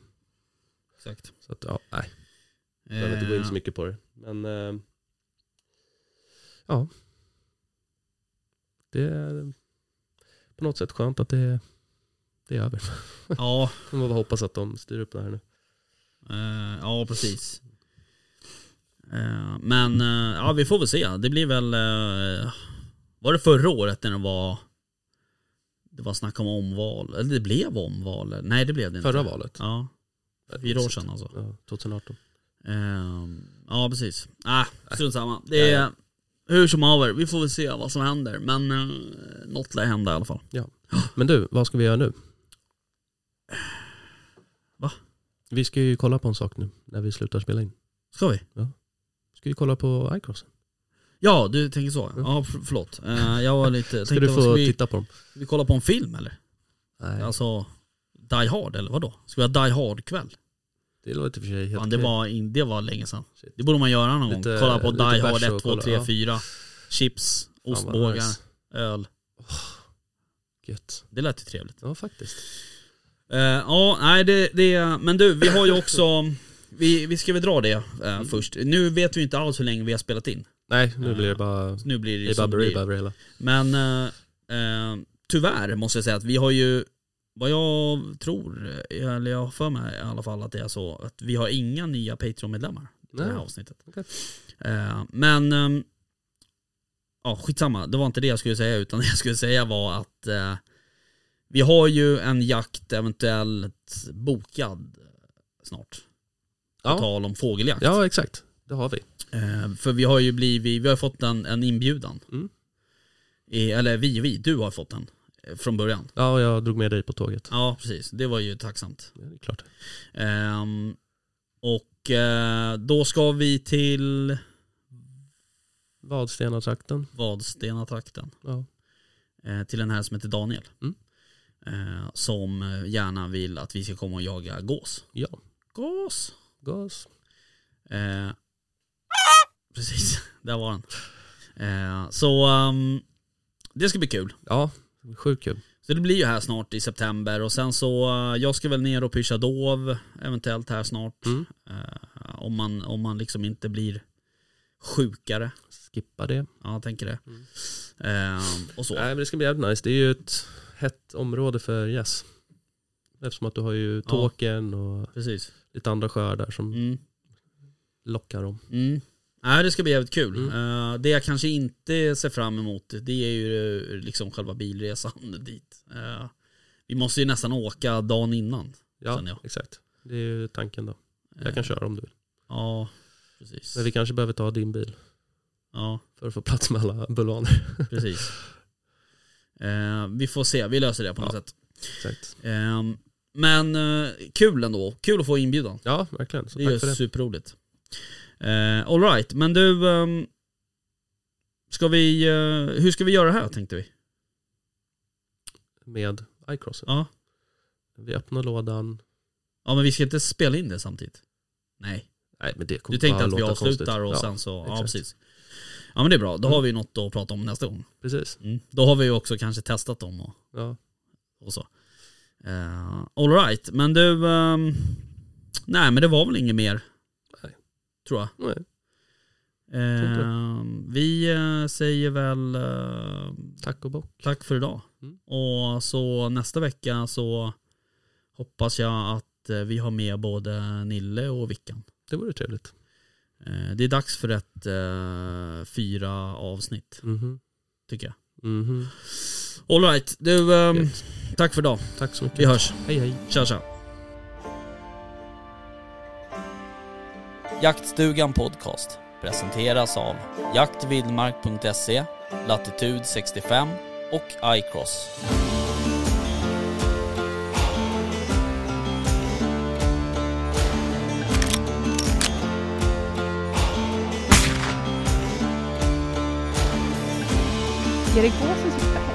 [SPEAKER 3] exakt Eh,
[SPEAKER 4] så att, ja, nej. Jag behöver inte gå in så mycket på det. Men eh, ja. Det är på något sätt skönt att det, det är över.
[SPEAKER 3] Eh, Ja,
[SPEAKER 4] Man får bara hoppas att de styr upp det här nu.
[SPEAKER 3] eh, ja precis. Eh, men eh, ja, vi får väl se. Det blir väl... eh, var det förra året när det var... Det var snack om omval. Eller det blev omval. Nej det blev det inte.
[SPEAKER 4] Förra valet.
[SPEAKER 3] Ja, fyra år sedan alltså.
[SPEAKER 4] Ja, 2018.
[SPEAKER 3] Eh, ja precis. Ah,
[SPEAKER 4] Äh.
[SPEAKER 3] strunt samma. Det är hur som haver. Vi får väl se vad som händer. Men eh, något lär hända i alla fall.
[SPEAKER 4] Men du, vad ska vi göra nu?
[SPEAKER 3] Va?
[SPEAKER 4] Vi ska ju kolla på en sak nu när vi slutar spela in.
[SPEAKER 3] Ska vi?
[SPEAKER 4] Ska vi kolla på iCrossen?
[SPEAKER 3] Ja, du tänker så. Ja, för, förlåt. Eh, jag var lite...
[SPEAKER 4] Mm. Ska
[SPEAKER 3] tänkte,
[SPEAKER 4] du
[SPEAKER 3] vad
[SPEAKER 4] få
[SPEAKER 3] vi-
[SPEAKER 4] titta på dem?
[SPEAKER 3] Vi kollar på en film eller?
[SPEAKER 4] Nej,
[SPEAKER 3] Alltså Die Hard eller vadå? Ska vi ha Die Hard-kväll?
[SPEAKER 4] det låter i och för sig helt
[SPEAKER 3] Fan, det,
[SPEAKER 4] okej.
[SPEAKER 3] var, in- det var länge sedan.
[SPEAKER 4] Shit.
[SPEAKER 3] Det borde man göra någon
[SPEAKER 4] Lite-
[SPEAKER 3] gång. Kolla på
[SPEAKER 4] lite
[SPEAKER 3] Die Hard
[SPEAKER 4] bärs
[SPEAKER 3] 1,
[SPEAKER 4] och
[SPEAKER 3] 2,
[SPEAKER 4] kolla,
[SPEAKER 3] 3,
[SPEAKER 4] ja.
[SPEAKER 3] 4. Chips,
[SPEAKER 4] Fan, vad
[SPEAKER 3] ostbågar,
[SPEAKER 4] nice.
[SPEAKER 3] öl.
[SPEAKER 4] Gött.
[SPEAKER 3] Det lät ju trevligt.
[SPEAKER 4] Ja, faktiskt.
[SPEAKER 3] Eh, ja, nej det, det... Men du, vi har ju också... Vi, vi ska väl dra det eh,
[SPEAKER 4] Mm.
[SPEAKER 3] först. Nu vet vi ju inte alls hur länge vi har spelat in.
[SPEAKER 4] Nej, nu blir det bara...
[SPEAKER 3] Nu blir det ju
[SPEAKER 4] Det är
[SPEAKER 3] som
[SPEAKER 4] bara
[SPEAKER 3] det blir.
[SPEAKER 4] Brie hela.
[SPEAKER 3] Men eh, eh, tyvärr måste jag säga att vi har ju, vad jag tror, eller jag har för mig i alla fall att det är så, att vi har inga nya Patreon-medlemmar i det här
[SPEAKER 4] Nej.
[SPEAKER 3] avsnittet.
[SPEAKER 4] Okej.
[SPEAKER 3] Eh, men, ehm, ja skitsamma, det var inte det jag skulle säga utan det jag skulle säga var att eh, vi har ju en jakt eventuellt bokad snart. På
[SPEAKER 4] Ja.
[SPEAKER 3] tal om fågeljakt.
[SPEAKER 4] Ja, exakt. det har vi.
[SPEAKER 3] Eh, för vi har ju blivit, vi har fått en, en inbjudan.
[SPEAKER 4] Mm.
[SPEAKER 3] I, eller vi, vi, du har fått den eh, från början.
[SPEAKER 4] Ja, jag drog med dig på tåget.
[SPEAKER 3] Ja, precis. Det var ju tacksamt.
[SPEAKER 4] Ja, det är klart.
[SPEAKER 3] Ehm, och eh, då ska vi till
[SPEAKER 4] Vadstenatrakten.
[SPEAKER 3] Vadstena-trakten.
[SPEAKER 4] Ja.
[SPEAKER 3] Eh, till en här som heter Daniel.
[SPEAKER 4] Mm.
[SPEAKER 3] Eh, som eh, gärna vill att vi ska komma och jaga gås.
[SPEAKER 4] ja,
[SPEAKER 3] Gås!
[SPEAKER 4] gas.
[SPEAKER 3] Eh, precis, där var den. Eh, så ehm, det ska bli kul.
[SPEAKER 4] Ja, sjukt kul.
[SPEAKER 3] Så det blir ju här snart i september och sen så, eh, jag ska väl ner och pyscha dov eventuellt här snart.
[SPEAKER 4] Mm.
[SPEAKER 3] Eh, om, man, om man liksom inte blir sjukare.
[SPEAKER 4] Skippa det.
[SPEAKER 3] Ja, jag tänker det.
[SPEAKER 4] Mm. Äh.
[SPEAKER 3] Eh, och så.
[SPEAKER 4] Nej, men det ska bli jävligt nice. Det är ju ett hett område för gäss. Eftersom att du har ju
[SPEAKER 3] Ja.
[SPEAKER 4] Tåkern och
[SPEAKER 3] Precis.
[SPEAKER 4] lite andra sjöar där som
[SPEAKER 3] Mm.
[SPEAKER 4] lockar dem.
[SPEAKER 3] Mm. Nej, det ska bli jävligt kul.
[SPEAKER 4] Mm.
[SPEAKER 3] Eh, det jag kanske inte ser fram emot, det är ju eh, liksom själva bilresan dit. Eh, vi måste ju nästan åka dagen innan.
[SPEAKER 4] Ja,
[SPEAKER 3] Sen, ja.
[SPEAKER 4] exakt. Det är ju tanken då.
[SPEAKER 3] Eh,
[SPEAKER 4] Jag kan köra om du vill.
[SPEAKER 3] Ja, precis.
[SPEAKER 4] Men vi kanske behöver ta din bil
[SPEAKER 3] Ja,
[SPEAKER 4] för att få plats med alla bulvaner.
[SPEAKER 3] precis. Eh, vi får se, vi löser det på något sätt.
[SPEAKER 4] Exakt.
[SPEAKER 3] Eh, men eh, kul ändå, kul att få inbjudan.
[SPEAKER 4] Ja, verkligen. Så
[SPEAKER 3] Det
[SPEAKER 4] tack för
[SPEAKER 3] är ju
[SPEAKER 4] det.
[SPEAKER 3] superroligt. Eh, all Alright, men du, ehm, ska vi, eh, hur ska vi göra här tänkte vi?
[SPEAKER 4] Med iCrossen.
[SPEAKER 3] Ja.
[SPEAKER 4] Vi öppnar lådan.
[SPEAKER 3] Ja men vi ska inte spela in det samtidigt. Nej,
[SPEAKER 4] Nej, men det kommer
[SPEAKER 3] du tänkte
[SPEAKER 4] bara
[SPEAKER 3] att vi
[SPEAKER 4] låta
[SPEAKER 3] avslutar
[SPEAKER 4] konstigt.
[SPEAKER 3] och
[SPEAKER 4] ja,
[SPEAKER 3] sen så, ja
[SPEAKER 4] exakt. Mm.
[SPEAKER 3] precis. Ja men det är bra, då har vi något att prata om nästa gång.
[SPEAKER 4] Precis.
[SPEAKER 3] Mm. Då har vi ju också kanske testat dem och,
[SPEAKER 4] Ja.
[SPEAKER 3] och så. Uh, all right, men du, ehm, nej men det var väl inget mer.
[SPEAKER 4] Nej.
[SPEAKER 3] Tror jag.
[SPEAKER 4] Nej.
[SPEAKER 3] Eh,
[SPEAKER 4] Tror
[SPEAKER 3] vi eh, säger väl eh,
[SPEAKER 4] Tack och bock.
[SPEAKER 3] tack för idag.
[SPEAKER 4] Mm.
[SPEAKER 3] Och så nästa vecka så hoppas jag att eh, vi har med både Nille och Vickan.
[SPEAKER 4] Det vore trevligt.
[SPEAKER 3] Eh, det är dags för ett eh, fyra avsnitt
[SPEAKER 4] Mhm.
[SPEAKER 3] tycker jag.
[SPEAKER 4] Mhm.
[SPEAKER 3] All right, du, ehm,
[SPEAKER 4] Gött.
[SPEAKER 3] tack för idag.
[SPEAKER 4] Tack så mycket.
[SPEAKER 3] Vi hörs.
[SPEAKER 4] Hej hej.
[SPEAKER 3] Tja tja. Jaktstugan Podcast presenteras av jaktvildmark.se, Latitude 65 och iCross.
[SPEAKER 6] Ska det gå så sakta?